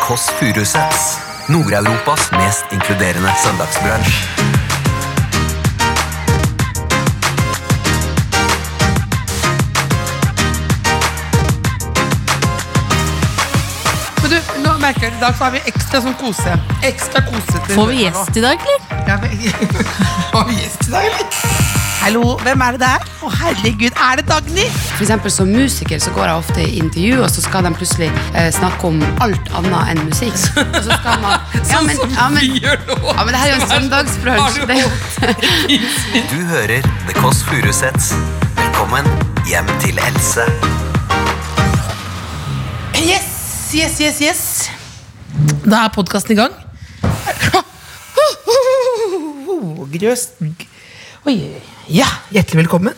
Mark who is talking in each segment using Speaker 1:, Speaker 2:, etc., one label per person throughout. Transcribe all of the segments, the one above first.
Speaker 1: Kåss Furuseths. Nord-Europas mest inkluderende søndagsbransj.
Speaker 2: Men du, nå merker jeg, I dag så har vi ekstra sånn kose. Ekstra kose til
Speaker 3: Får vi gjest i dag, eller?
Speaker 2: Ja, men- Får vi gjest i dag, eller? Hallo, hvem er det der? Å, herregud, er det Dagny?
Speaker 4: For eksempel som musiker så går jeg ofte i intervju, og så skal de plutselig eh, snakke om alt annet enn musikk. Og så skal man... Ja, men, ja, men,
Speaker 2: gjør nå.
Speaker 4: ja, men det her er jo en søndagsbrunsj. Det, er jo-
Speaker 1: Du hører The Kåss Furuseths. Velkommen hjem til Else.
Speaker 2: Yes, yes, yes, yes. Da er podkasten i gang. Grøs Oi, oi, oi. Ja, hjertelig velkommen.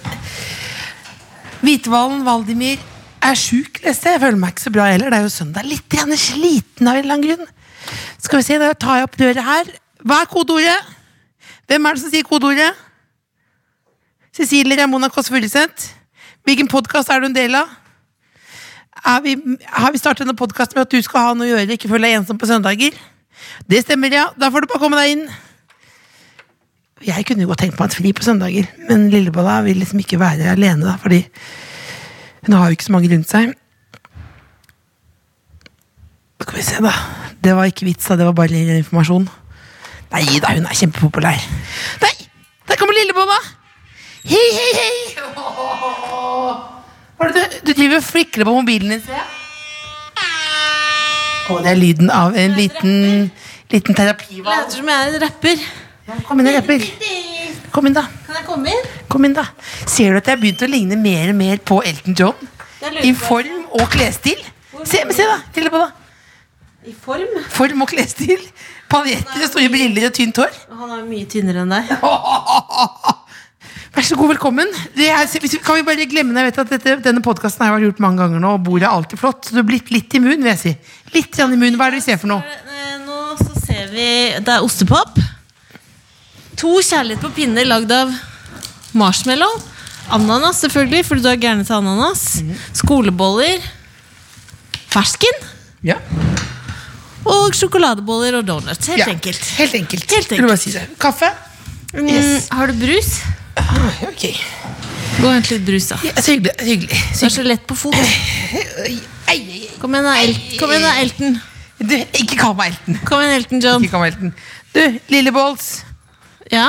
Speaker 2: Hvitehvalen Valdimir er sjuk, leste jeg. Jeg føler meg ikke så bra heller. Det er jo søndag. Litt grann sliten av en eller annen grunn. Skal vi se, da tar jeg opp døra her. Hva er kodeordet? Hvem er det som sier kodeordet? Cecilie Ramona Kåss Furuseth. Hvilken podkast er du en del av? Er vi, har vi startet denne podkasten med at du skal ha noe å gjøre, ikke føle deg ensom på søndager? Det stemmer, ja. Da får du bare komme deg inn. Jeg kunne jo godt tenkt meg et fri på søndager, men lillebolla vil liksom ikke være alene, da, fordi hun har jo ikke så mange rundt seg. Skal vi se, da. Det var ikke vits, da. Det var bare litt informasjon. Nei da, hun er kjempepopulær. Nei! Der kommer lillebolla! Hei, hei, hei! Hva er det du, du driver og flikrer på mobilen din, ser jeg. Å, det er lyden av en liten, liten terapihval.
Speaker 3: Later som jeg er en rapper.
Speaker 2: Kom inn, rapper. Kom inn, da.
Speaker 3: Kan jeg komme inn?
Speaker 2: Kom inn da Ser du at jeg har begynt å ligne mer og mer på Elton John?
Speaker 3: Jeg lurer
Speaker 2: I
Speaker 3: på-
Speaker 2: form og klesstil. Se, men se da, til og med da
Speaker 3: I form.
Speaker 2: Form og klesstil. Paljetter og store briller og tynt hår.
Speaker 3: Han er mye tynnere enn deg.
Speaker 2: Vær så god, velkommen. Det er, hvis vi- kan vi bare glemme det? Jeg vet at dette, Denne podkasten har vært gjort mange ganger nå, og bordet er alltid flott. Så du er blitt litt immun, vil jeg si. Litt grann immun. Hva er det vi ser for noe?
Speaker 3: Eh, Nå så ser vi Det er ostepop. To kjærlighet på pinne lagd av marshmallow. Ananas, selvfølgelig, fordi du er gæren til ananas.
Speaker 2: Mhm.
Speaker 3: Skoleboller. Fersken.
Speaker 2: Ja,
Speaker 3: Og sjokoladeboller og donuts. Helt enkelt.
Speaker 2: Helt enkelt.
Speaker 3: Helt
Speaker 2: Vil du bare si det. Kaffe?
Speaker 3: Mm,
Speaker 2: Yes.
Speaker 3: Har du brus?
Speaker 2: Ok.
Speaker 3: Gå og hent litt brus, da.
Speaker 2: Ja, så hyggelig. så hyggelig.
Speaker 3: Du er så lett på fot.
Speaker 2: Ei, ei, ei.
Speaker 3: Kom igjen, da, El- Kom igjen da, Elton.
Speaker 2: Du, ikke kall meg Elton.
Speaker 3: Kom igjen, Elton John.
Speaker 2: Ikke kall meg Elton. Du, Lillebolls.
Speaker 3: Ja?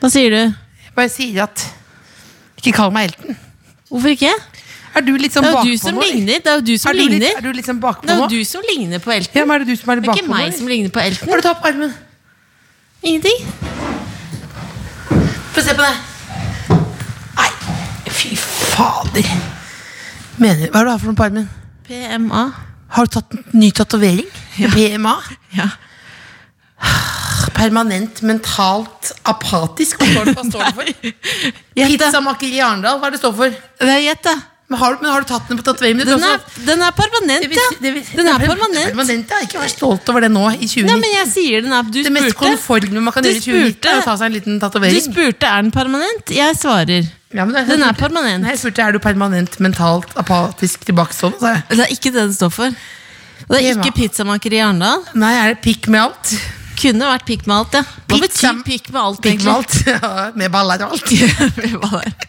Speaker 3: Hva sier du?
Speaker 2: Bare sier at Ikke kall meg Elton.
Speaker 3: Hvorfor ikke?
Speaker 2: Er du litt sånn
Speaker 3: Det er
Speaker 2: bakpå
Speaker 3: jo du som
Speaker 2: nå?
Speaker 3: ligner. Det er jo du som
Speaker 2: Er du litt,
Speaker 3: ligner.
Speaker 2: er du litt sånn bakpå
Speaker 3: Det er
Speaker 2: nå?
Speaker 3: jo du som ligner på Elton.
Speaker 2: Ja, men er det du som er litt
Speaker 3: Det er
Speaker 2: bakpå
Speaker 3: ikke meg
Speaker 2: nå?
Speaker 3: som ligner på Elton.
Speaker 2: Bare ta opp armen.
Speaker 3: Ingenting.
Speaker 2: Få se på det. Nei, fy fader. Mener, hva er det du har for noe på armen?
Speaker 3: PMA.
Speaker 2: Har du tatt en ny tatovering? PMA?
Speaker 3: Ja.
Speaker 2: Permanent mentalt apatisk. Hva står det- hva står det for?
Speaker 3: Gjett, da.
Speaker 2: Pizzamaker i Arendal, hva er det det står for?
Speaker 3: Det er gjett, da.
Speaker 2: Men har, du- men har du tatt den på tatoveringen?
Speaker 3: Den er, den er permanent, ja. Den er permanent.
Speaker 2: permanent ja. Ikke vær stolt over det nå i 2019.
Speaker 3: Ja, men jeg sier den er Du
Speaker 2: det mest
Speaker 3: spurte.
Speaker 2: konforme man kan
Speaker 3: Du
Speaker 2: gjøre i 2019, er å
Speaker 3: spurte.
Speaker 2: ta seg en liten
Speaker 3: Du
Speaker 2: tatovering.
Speaker 3: spurte er den permanent. Jeg svarer.
Speaker 2: Ja, men det-
Speaker 3: Den er
Speaker 2: jeg spurte-
Speaker 3: permanent.
Speaker 2: Nei, jeg spurte er du permanent mentalt apatisk tilbakestående. sa jeg.
Speaker 3: Det er ikke det det står for. Det er
Speaker 2: PMA.
Speaker 3: ikke pizzamaker i Arendal.
Speaker 2: Nei, er det pikk med alt?
Speaker 3: Kunne vært pikk med alt, ja. Hva
Speaker 2: Pizza-
Speaker 3: betyr pikk med alt,
Speaker 2: Pikk med
Speaker 3: egentlig?
Speaker 2: alt? Ja, med baller og alt.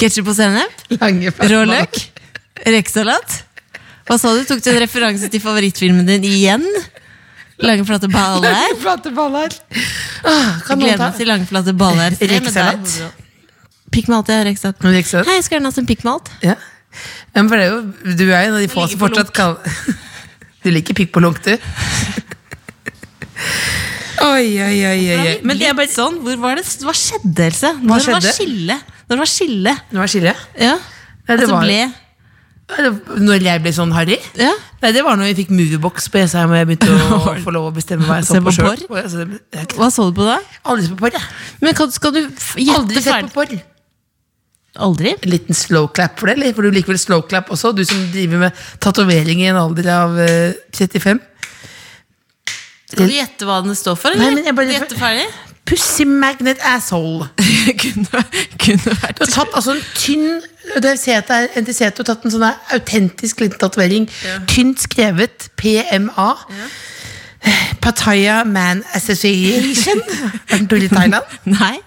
Speaker 3: Ketsjup og sennep?
Speaker 2: Lange
Speaker 3: Rå løk? Rekesalat? Hva sa du? Tok du en referanse til favorittfilmen din igjen? Lange, flate baller?
Speaker 2: Flate baller. Åh, Kan noen
Speaker 3: Gleder
Speaker 2: ta
Speaker 3: meg til lange, flate baller. Nei, men
Speaker 2: Rekesalat?
Speaker 3: det er hovedrå- Pikk med alt, ja. Rekesalat.
Speaker 2: Rekesalat?
Speaker 3: Hei, jeg skulle gjerne hatt en pikk med alt.
Speaker 2: Ja. Ja, men for det er jo, du er jo en av de få
Speaker 3: ligger
Speaker 2: som
Speaker 3: på
Speaker 2: fortsatt kan Du liker pikk på lunk, du. Oi, oi, oi, oi, oi.
Speaker 3: Men det er bare sånn, hvor var det, hva skjedde, Else?
Speaker 2: Hva
Speaker 3: Når var
Speaker 2: skjedde?
Speaker 3: skille? Når var skille?
Speaker 2: Nå er skillet.
Speaker 3: Ja.
Speaker 2: Nei, det
Speaker 3: Altså
Speaker 2: var-
Speaker 3: ble
Speaker 2: Når jeg ble sånn harry?
Speaker 3: Ja.
Speaker 2: Nei, det var når vi fikk moviebox på E Jessheim og jeg begynte å
Speaker 3: Var det-
Speaker 2: få lov å bestemme hva jeg
Speaker 3: Se
Speaker 2: så
Speaker 3: på
Speaker 2: på sjøl.
Speaker 3: porr?
Speaker 2: Aldri
Speaker 3: Hva så du på da?
Speaker 2: sett på porr, jeg.
Speaker 3: Men kan, skal du f- gjette
Speaker 2: Aldri sett på
Speaker 3: ferdig?
Speaker 2: porr.
Speaker 3: Aldri?
Speaker 2: En liten slow clap for det, eller? For du liker vel slow clap også? Du som driver med tatovering i en alder av eh, 35.
Speaker 3: Skal du gjette hva den står for?
Speaker 2: Nei,
Speaker 3: Eller?
Speaker 2: men jeg bare-
Speaker 3: Gjette ferdig?
Speaker 2: Pussy magnet asshole.
Speaker 3: kunne, kunne vært
Speaker 2: Du har tatt altså en tynn det ser jeg at det er NTC, Du har tatt en sånn der autentisk liten tatovering. Tynt skrevet PMA. Pattaya Man Association. Har den tur i Thailand?
Speaker 3: Nei.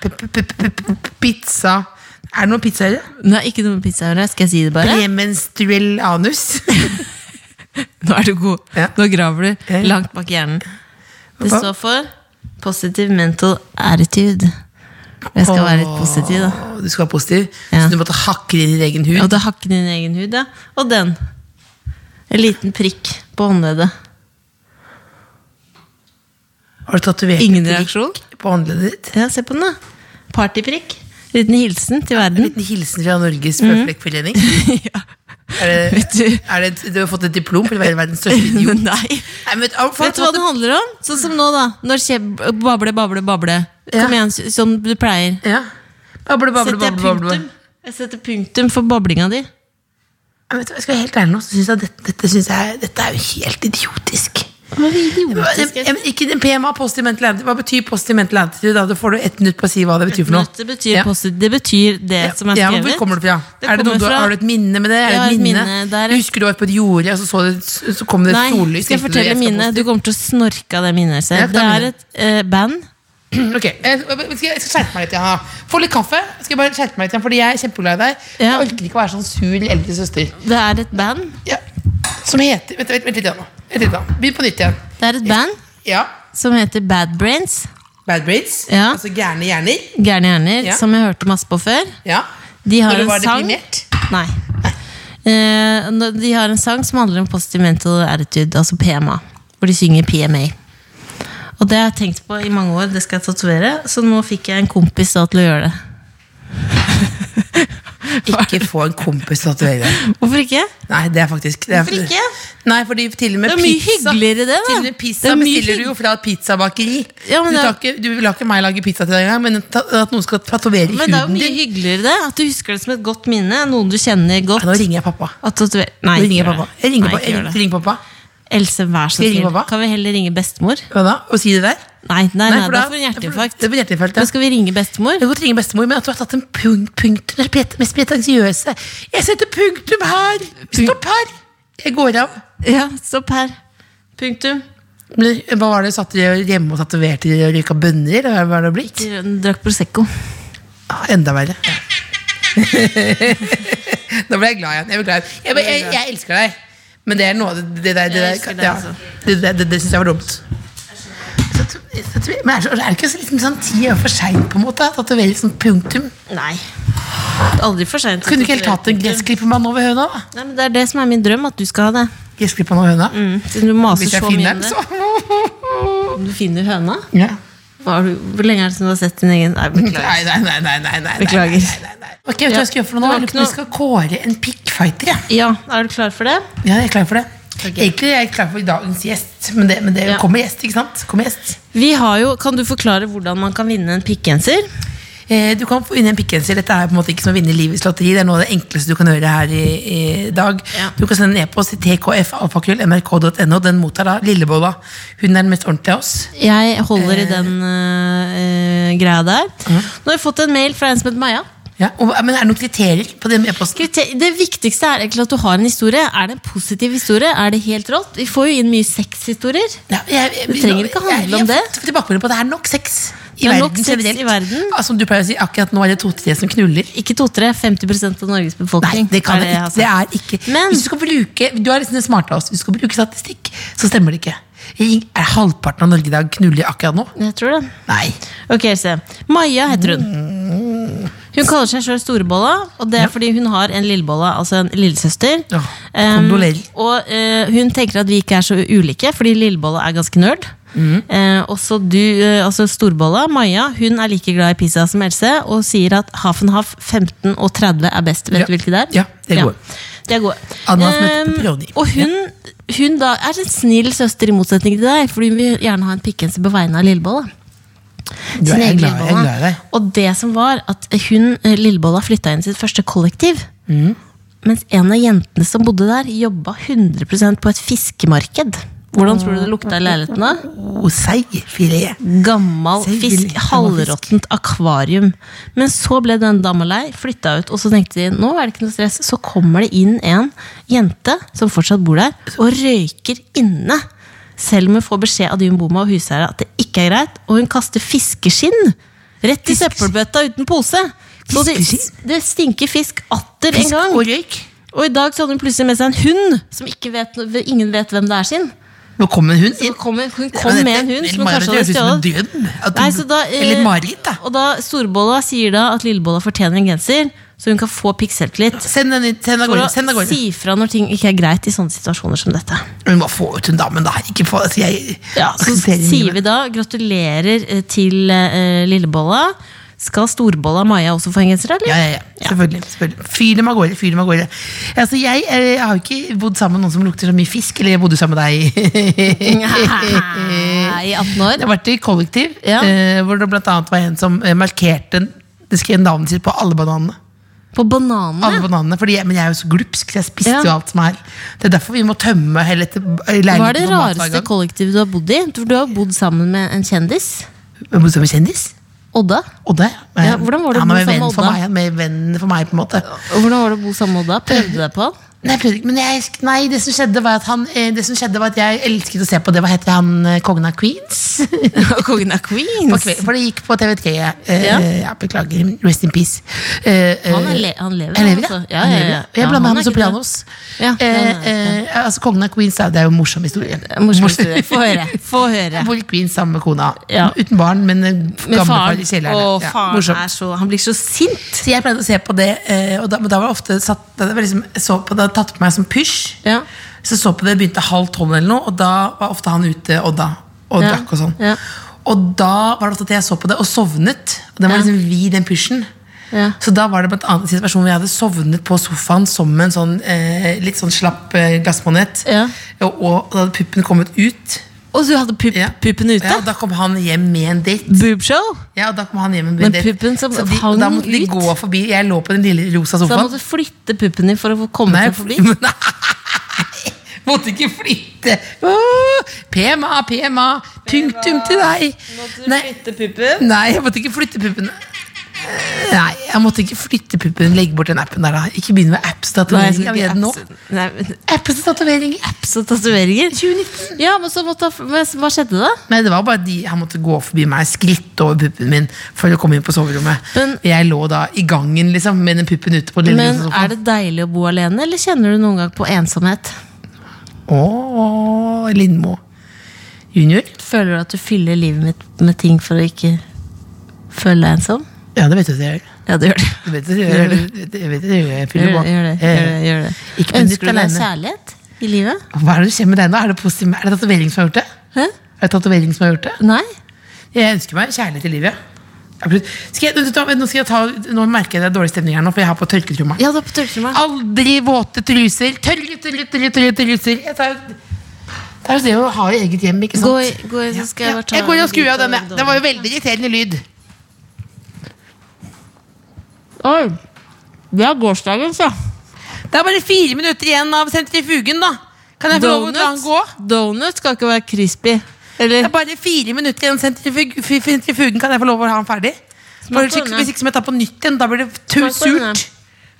Speaker 2: P- p- p- p- p- Pizza Er det noen pizzaer?
Speaker 3: Nei, ikke noe med pizza her, skal jeg si det bare?
Speaker 2: Premenstruell anus.
Speaker 3: Nå er du god.
Speaker 2: Ja.
Speaker 3: Nå graver du
Speaker 2: Ja.
Speaker 3: langt bak hjernen. Det
Speaker 2: Hva?
Speaker 3: står for positive mental attitude. Jeg skal være litt positiv, da.
Speaker 2: Åh, Du skal være positiv.
Speaker 3: Ja.
Speaker 2: Så du måtte hakke inn i din egen
Speaker 3: Og
Speaker 2: hud.
Speaker 3: det hakker din egen hud, ja. Og den. En liten prikk på håndleddet.
Speaker 2: Har du tatovert
Speaker 3: Ingen
Speaker 2: en prikk
Speaker 3: reaksjon?
Speaker 2: på håndleddet ditt?
Speaker 3: Ja, se på den, da. Partyprikk. Liten hilsen til
Speaker 2: En
Speaker 3: verden.
Speaker 2: liten hilsen fra Norges føflekkforening.
Speaker 3: Mm. ja.
Speaker 2: Er det,
Speaker 3: Vet du-
Speaker 2: er det, du har fått et diplom for å være verdens største idiot.
Speaker 3: Nei.
Speaker 2: Nei, men, ah, for-
Speaker 3: Vet du hva det handler om? Sånn som nå, da. Når skje bable, bable, bable.
Speaker 2: Ja.
Speaker 3: Kom igjen, s- som du pleier.
Speaker 2: Ja. Bable, bable,
Speaker 3: Setter jeg
Speaker 2: bable, bable.
Speaker 3: punktum? Jeg setter punktum for bablinga di.
Speaker 2: Nei, vet du hva, jeg skal være helt ærlig nå, så synes jeg dette, dette, synes jeg, dette er jo helt idiotisk. Hva-
Speaker 3: Idiotisk.
Speaker 2: jeg- Ikke den PMA, positive mental attitude. Hva betyr positive mental attitude? Da? da får du ett minutt på å si hva det betyr for noe.
Speaker 3: Det betyr,
Speaker 2: Ja.
Speaker 3: posi- det betyr det
Speaker 2: Ja,
Speaker 3: som er
Speaker 2: ja,
Speaker 3: skrevet.
Speaker 2: hvor kommer det fra?
Speaker 3: Det
Speaker 2: er det noe
Speaker 3: kommer
Speaker 2: du,
Speaker 3: fra-
Speaker 2: har du et minne med det? Er
Speaker 3: Jeg
Speaker 2: det
Speaker 3: har
Speaker 2: et
Speaker 3: et
Speaker 2: minne?
Speaker 3: minne der.
Speaker 2: Husker du var på et jorde, og så, så, det, så kom det et
Speaker 3: Nei,
Speaker 2: sollys?
Speaker 3: skal
Speaker 2: tenkte
Speaker 3: jeg
Speaker 2: du,
Speaker 3: fortelle
Speaker 2: skal
Speaker 3: mine? Du kommer til å snorke av det minnet.
Speaker 2: Ja, ta
Speaker 3: Selv. Det er
Speaker 2: minnet.
Speaker 3: et eh, band.
Speaker 2: positivt. Ok, jeg jeg skal, jeg skal skjerpe meg litt. Ja. Få litt kaffe. Skal jeg bare skjerpe meg litt, Fordi jeg er kjempeglad i deg.
Speaker 3: Ja.
Speaker 2: Jeg orker ikke å være sånn sur eldre søster.
Speaker 3: Det er et band.
Speaker 2: Ja. Som heter Vent, vent, vent litt igjen nå. Vent litt da. Begynn på nytt igjen.
Speaker 3: Det er et band
Speaker 2: Ja.
Speaker 3: som heter Bad Brains.
Speaker 2: Bad brains.
Speaker 3: Ja.
Speaker 2: Altså gærne hjerner.
Speaker 3: Gærne hjerner,
Speaker 2: Ja.
Speaker 3: som jeg hørte masse på før.
Speaker 2: Ja.
Speaker 3: De har
Speaker 2: Når du
Speaker 3: en
Speaker 2: var
Speaker 3: sang
Speaker 2: deprimert?
Speaker 3: Nei. Eh, når- de har en sang som handler om positive mental attitude, altså PMA. Hvor de synger PMA. Og det har jeg tenkt på i mange år, det skal jeg tatovere. Så nå fikk jeg en kompis da til å gjøre det.
Speaker 2: Ikke få en kompis til å tatovere.
Speaker 3: Hvorfor ikke?
Speaker 2: Nei, det er faktisk det er,
Speaker 3: Hvorfor ikke?
Speaker 2: Nei, fordi til og med
Speaker 3: Det er mye
Speaker 2: pizza,
Speaker 3: hyggeligere det, da.
Speaker 2: Til og med pizza
Speaker 3: Det er mye
Speaker 2: bestiller du jo
Speaker 3: hygg-
Speaker 2: fra et pizzabakeri.
Speaker 3: Ja, men
Speaker 2: du,
Speaker 3: det-
Speaker 2: tar ikke, du vil ikke meg lage pizza til deg engang, men ta- at noen skal tatovere
Speaker 3: Men det er jo
Speaker 2: huden
Speaker 3: mye
Speaker 2: din.
Speaker 3: hyggeligere det. At du husker det som et godt minne. Noen du kjenner godt.
Speaker 2: Ja, Nå ringer jeg pappa.
Speaker 3: At tatover-
Speaker 2: Nå
Speaker 3: Nei,
Speaker 2: ringer jeg
Speaker 3: ikke gjør
Speaker 2: pappa.
Speaker 3: det.
Speaker 2: Jeg ringer,
Speaker 3: Nei,
Speaker 2: pappa.
Speaker 3: ikke
Speaker 2: Jeg
Speaker 3: gjør
Speaker 2: ringer,
Speaker 3: det.
Speaker 2: ringer pappa.
Speaker 3: Else, vær så
Speaker 2: Skal jeg ringe
Speaker 3: snill.
Speaker 2: pappa?
Speaker 3: Kan vi heller ringe bestemor?
Speaker 2: Hva da? Og si det der?
Speaker 3: Nei, nei, nei,
Speaker 2: for
Speaker 3: da
Speaker 2: da-
Speaker 3: får hun
Speaker 2: da får-
Speaker 3: hjerteinfarkt.
Speaker 2: det blir hjerteinfarkt, ja.
Speaker 3: Da skal vi ringe bestemor.
Speaker 2: Jeg kan godt ringe bestemor, men at du har tatt en punkt, punkt Det er pet- mest pretensiøse. Jeg setter punktum her! Stopp her! Jeg går av.
Speaker 3: Ja, stopp her. Punktum.
Speaker 2: Men Hva var det satt dere hjemme og tatoverte og røyka bønner? Eller hva har det blitt?
Speaker 3: Drakk Prosecco.
Speaker 2: Ah, Enda verre. Nå ble jeg glad igjen. Jeg, ble glad igjen. Jeg, ble- jeg, jeg elsker deg, men det er noe av det, det der, det,
Speaker 3: Jeg elsker
Speaker 2: der
Speaker 3: deg
Speaker 2: ja,
Speaker 3: også.
Speaker 2: det, det, det, det syns jeg var dumt. Så tro- så tro- Men er, det så- er det ikke så liksom sånn ti år for seint, på en måte? At det velger sånn punktum?
Speaker 3: Nei. Aldri for seint.
Speaker 2: Kunne du ikke helt tatt en gressklippermann over høna? da?
Speaker 3: Nei, men Det er det som er min drøm, at du skal ha det.
Speaker 2: Gressklippermann over høna?
Speaker 3: Mm. Siden du maser
Speaker 2: Hvis
Speaker 3: så
Speaker 2: jeg
Speaker 3: mye
Speaker 2: finner
Speaker 3: om
Speaker 2: den,
Speaker 3: det.
Speaker 2: så.
Speaker 3: Om Du finner høna?
Speaker 2: Ja.
Speaker 3: Hva har du, hvor lenge er det siden du har sett din egen Nei,
Speaker 2: Nei,
Speaker 3: beklager.
Speaker 2: nei, nei. nei, nei, nei, nei,
Speaker 3: Beklager.
Speaker 2: nei, nei. Ok, vet du hva jeg skal gjøre for noe? nå?
Speaker 3: Det var
Speaker 2: Jeg lurer på
Speaker 3: ikke
Speaker 2: om
Speaker 3: noe-
Speaker 2: vi skal kåre en pickfighter. Ja.
Speaker 3: Ja, er du klar for det?
Speaker 2: Ja, jeg er klar for det. Egentlig er jeg klar for dagens gjest, men det, men det
Speaker 3: Ja.
Speaker 2: kommer gjest, ikke sant? Kommer gjest.
Speaker 3: Vi har jo, Kan du forklare hvordan man kan vinne en pikkgenser?
Speaker 2: Eh, du kan få vinne en pikkgenser. Dette er på en måte ikke som å vinne Livets lotteri. Det er noe av det enkleste du kan gjøre her i, i dag.
Speaker 3: Ja.
Speaker 2: Du kan sende en e-post til tkfalfakrøll.nrk.no. Den mottar da Lillebolla. Hun er den mest ordentlige av oss.
Speaker 3: Jeg holder i
Speaker 2: Eh.
Speaker 3: den øh, øh, greia der. Nå har jeg fått en mail fra en som heter Maja.
Speaker 2: Ja, og, men er det noen kriterier på den e-posten?
Speaker 3: Kriter- Det viktigste er egentlig at du har en historie. Er det en positiv historie? Er det helt rått? Vi får jo inn mye sexhistorier.
Speaker 2: Ja, jeg- jeg-
Speaker 3: Det trenger ikke
Speaker 2: jeg-
Speaker 3: handle
Speaker 2: jeg-
Speaker 3: om det.
Speaker 2: Jeg får tilbakemelding på at det er nok sex i
Speaker 3: Det er
Speaker 2: verden
Speaker 3: nok sex i
Speaker 2: generelt.
Speaker 3: verden.
Speaker 2: Ja, som du pleier å si, akkurat nå er det to-tre som knuller.
Speaker 3: Ikke to-tre, 50 av Norges
Speaker 2: Nei,
Speaker 3: befolkning.
Speaker 2: det kan
Speaker 3: er
Speaker 2: det
Speaker 3: jeg har
Speaker 2: ikke. Det
Speaker 3: sagt.
Speaker 2: er ikke.
Speaker 3: Men-
Speaker 2: Hvis du skal bruke, du er liksom den smarte av oss. Hvis du skal bruke statistikk, så stemmer det ikke. Ring- Er halvparten av Norge i dag knuller akkurat nå?
Speaker 3: Jeg tror det.
Speaker 2: Nei.
Speaker 3: Ok, se. Maja heter hun. Hun kaller seg sjøl Storebolla, og det er fordi hun har en lillebolla, altså en lillesøster.
Speaker 2: Ja,
Speaker 3: Em,
Speaker 2: kondolerer.
Speaker 3: og eh, hun tenker at vi ikke er så ulike, fordi lillebolla er ganske nerd.
Speaker 2: Mm.
Speaker 3: Eh, også du, eh, altså Storbolla, Maja, hun er like glad i pizza som Else, og sier at Hafenhaff 15 og 30 er best. Vet
Speaker 2: Ja.
Speaker 3: du hvilke det er?
Speaker 2: Ja, det er gode.
Speaker 3: De er gode.
Speaker 2: Ananas med
Speaker 3: Em,
Speaker 2: pepperoni.
Speaker 3: og hun, hun da er en snill søster i motsetning til deg, fordi hun vil gjerne ha en pikkenser på vegne av lillebolla.
Speaker 2: Du
Speaker 3: Sin
Speaker 2: er
Speaker 3: egen
Speaker 2: glad, jeg er
Speaker 3: lillebolla.
Speaker 2: glad i deg.
Speaker 3: Og det som var at hun, eh, Lillebolla flytta inn i sitt første kollektiv.
Speaker 2: Mm.
Speaker 3: Mens en av jentene som bodde der, jobba 100 på et fiskemarked. Hvordan tror du det lukta i leiligheten da?
Speaker 2: Og seigfilet.
Speaker 3: Gammel
Speaker 2: Selvfølgelig,
Speaker 3: fisk,
Speaker 2: gammel
Speaker 3: halvråttent akvarium. Men så ble den dama lei, flytta ut, og så tenkte de nå er det ikke noe stress. Så kommer det inn en jente som fortsatt bor der, og røyker inne. Selv om hun får beskjed av Dyn Boma og huseiere at det ikke er greit, og hun kaster fiskeskinn rett i søppelbøtta uten pose. Så det,
Speaker 2: Fiskeskinn?
Speaker 3: det stinker fisk atter en
Speaker 2: Fisk
Speaker 3: gang.
Speaker 2: og røyk.
Speaker 3: Og i dag så hadde hun plutselig med seg en hund som ikke vet, ingen vet hvem det er sin.
Speaker 2: Nå kom en hund
Speaker 3: Så
Speaker 2: inn.
Speaker 3: kom, hun kom med en hund som hun kanskje hadde
Speaker 2: stjålet.
Speaker 3: stjålet. Nei, så da, eh,
Speaker 2: Eller et mareritt, da.
Speaker 3: Og da Storbolla sier da at Lillebolla fortjener en genser, så hun kan få pikseltillit.
Speaker 2: Send den inn, send av
Speaker 3: For
Speaker 2: gårde.
Speaker 3: å
Speaker 2: Send av gårde.
Speaker 3: si fra når ting ikke er greit i sånne situasjoner som dette.
Speaker 2: Hun må få ut hun damen, da. Ikke få, altså, jeg
Speaker 3: Ja, så sier vi da gratulerer eh, til eh, Lillebolla. Skal Storbolla Maja også få en genser,
Speaker 2: Ja,
Speaker 3: eller?
Speaker 2: ja, ja. Selvfølgelig. selvfølgelig. Fyr dem av gårde. fyr dem av gårde. Altså, jeg, eh, har jo ikke bodd sammen med noen som lukter så mye fisk, eller jeg bodde jo sammen med deg.
Speaker 3: I 18 år.
Speaker 2: Jeg har vært i kollektiv,
Speaker 3: Ja.
Speaker 2: eh, hvor det blant annet var en som eh, markerte det skrev navnet sitt på alle bananene.
Speaker 3: På bananene.
Speaker 2: Alle bananene fordi jeg, men jeg er jo så glupsk, så jeg spiste
Speaker 3: Ja.
Speaker 2: jo alt som er. Det er derfor vi må tømme hele dette leiligheten.
Speaker 3: Hva er det
Speaker 2: for mat hver
Speaker 3: rareste
Speaker 2: gang.
Speaker 3: kollektivet du har bodd i? For Du har bodd sammen med en kjendis.
Speaker 2: Jeg bodde sammen med kjendis.
Speaker 3: Odda.
Speaker 2: Odde. eh,
Speaker 3: Ja, hvordan var det å
Speaker 2: han
Speaker 3: bo
Speaker 2: var en
Speaker 3: sammen
Speaker 2: venn
Speaker 3: med
Speaker 2: for
Speaker 3: Odda?
Speaker 2: meg, han var en venn for meg, på en måte.
Speaker 3: Og Hvordan var det å bo sammen med Odda? Prøvde du deg på han?
Speaker 2: Nei, jeg prøvde ikke, men jeg, sk- nei, det som skjedde var at han eh, Det som skjedde var at jeg elsket å se på det. Hva heter han eh, kongen av Queens?
Speaker 3: Kongen av
Speaker 2: På
Speaker 3: Queens.
Speaker 2: kve- For det gikk på TV3. Eh, ja.
Speaker 3: Ja.
Speaker 2: Beklager. Rest in peace. Eh, eh,
Speaker 3: Han, er le han lever,
Speaker 2: han lever,
Speaker 3: altså.
Speaker 2: ja. Han lever, ja. Jeg blander
Speaker 3: han
Speaker 2: ham
Speaker 3: er
Speaker 2: med
Speaker 3: ikke
Speaker 2: Sopranos.
Speaker 3: Ja,
Speaker 2: Eh,
Speaker 3: han er-
Speaker 2: eh, altså, kongen av Queens er- det er jo en morsom historie.
Speaker 3: død. Morsom historie. Få høre. Få høre.
Speaker 2: Jeg bor i Queens sammen med kona.
Speaker 3: Ja.
Speaker 2: Uten barn, men eh,
Speaker 3: Med
Speaker 2: gamlefar
Speaker 3: faren.
Speaker 2: i kjelleren.
Speaker 3: Og
Speaker 2: Ja,
Speaker 3: faren
Speaker 2: morsomt.
Speaker 3: er så Han blir så sint.
Speaker 2: Så jeg pleide å se på det, eh, og da, men da var det ofte satt, det var liksom, jeg så på, det hadde tatt på meg som pysj.
Speaker 3: Ja.
Speaker 2: Så jeg så på det, begynte halv tolv eller noe, og da var ofte han ute og da, og
Speaker 3: Ja.
Speaker 2: drakk og sånn.
Speaker 3: Ja.
Speaker 2: Og da var det ofte at jeg så på det og sovnet, og den var
Speaker 3: Ja.
Speaker 2: liksom vid den pysjen.
Speaker 3: Ja.
Speaker 2: Så da var det blant annet en situasjon hvor jeg hadde sovnet på sofaen som en sånn eh, litt sånn slapp eh, glassmanet,
Speaker 3: Ja.
Speaker 2: og, og da hadde puppen kommet ut.
Speaker 3: Og så hadde pup
Speaker 2: Ja.
Speaker 3: puppen ute?
Speaker 2: Ja, og da kom han hjem med en date.
Speaker 3: Boobshow?
Speaker 2: Ja, og da kom han hjem med
Speaker 3: Men
Speaker 2: det.
Speaker 3: puppen som
Speaker 2: Så de,
Speaker 3: hang
Speaker 2: og Da måtte de
Speaker 3: ut?
Speaker 2: gå forbi Jeg lå på den lille rosa
Speaker 3: Så da
Speaker 2: sofaen
Speaker 3: måtte du flytte puppen din for å få komme
Speaker 2: Nei,
Speaker 3: seg forbi?
Speaker 2: men- nei, Måtte ikke flytte Åh, PMA, PMA Punktum til deg Nei,
Speaker 3: puppen?
Speaker 2: nei, jeg måtte ikke flytte puppen Nei, jeg måtte ikke flytte puppen Legg bort den appen der da Ikke begynne med apps
Speaker 3: Nei,
Speaker 2: tatoveringer
Speaker 3: jeg skal
Speaker 2: allerede nå.
Speaker 3: ikke apps. Nei, men
Speaker 2: Apps tatoveringer
Speaker 3: apps og tatoveringer.
Speaker 2: 2019
Speaker 3: Ja, men så måtte han, men hva skjedde da?
Speaker 2: Nei, det var bare de Han måtte gå forbi meg Skritt over puppen min For å komme inn på soverommet
Speaker 3: Men-
Speaker 2: Jeg lå da i gangen liksom Med den puppen ute på den lille
Speaker 3: Men
Speaker 2: sofaen.
Speaker 3: Er det deilig å bo alene, eller kjenner du noen gang på ensomhet?
Speaker 2: Åh, Lindmo junior.
Speaker 3: Føler du at du fyller livet mitt med ting for å ikke føle deg ensom?
Speaker 2: Ja, det vet du at jeg gjør.
Speaker 3: Ja, det gjør det.
Speaker 2: Det vet du at jeg gjør. Det vet du- jeg vet at jeg gjør. Jeg fyller
Speaker 3: Gjør
Speaker 2: på. Eh,
Speaker 3: det, gjør det, gjør det, gjør det.
Speaker 2: Ikke benytt
Speaker 3: Ønsker du deg
Speaker 2: alene.
Speaker 3: kjærlighet i livet?
Speaker 2: Hva er det som skjer med deg nå? Er det, positiv, er det tatovering som har gjort det?
Speaker 3: Hæ?
Speaker 2: Er det tatovering som har gjort det?
Speaker 3: Nei?
Speaker 2: Jeg ønsker meg kjærlighet i livet. Jeg har prøvd- Skal jeg, vet du hva, nå, skal jeg ta, nå merker jeg det er dårlig stemning her nå, for jeg har på tørketromma.
Speaker 3: Ja, da på tørketromma.
Speaker 2: Aldri våte truser. Tørre, tørre, tørre, tørre truser. Jeg tar jo... Det er jo det å ha i eget hjem, ikke sant?
Speaker 3: Gå, i- gå, i, så skal jeg
Speaker 2: Ja,
Speaker 3: bare ta
Speaker 2: jeg går og skrur av denne.
Speaker 3: litt
Speaker 2: Det var jo veldig irriterende lyd.
Speaker 3: Oi! Det er gårsdagens, ja.
Speaker 2: Det er bare fire minutter igjen av sentrifugen, da. Kan jeg få lov å la den gå?
Speaker 3: donut skal ikke være crispy. Eller?
Speaker 2: Det er bare fire minutter igjen av sentrifug f- sentrifugen. Kan jeg få lov å ha den ferdig? For
Speaker 3: Smak på
Speaker 2: ikke,
Speaker 3: denne.
Speaker 2: hvis ikke så må jeg ta på nytt igjen. Da blir det tu-
Speaker 3: Smak på denne.
Speaker 2: surt.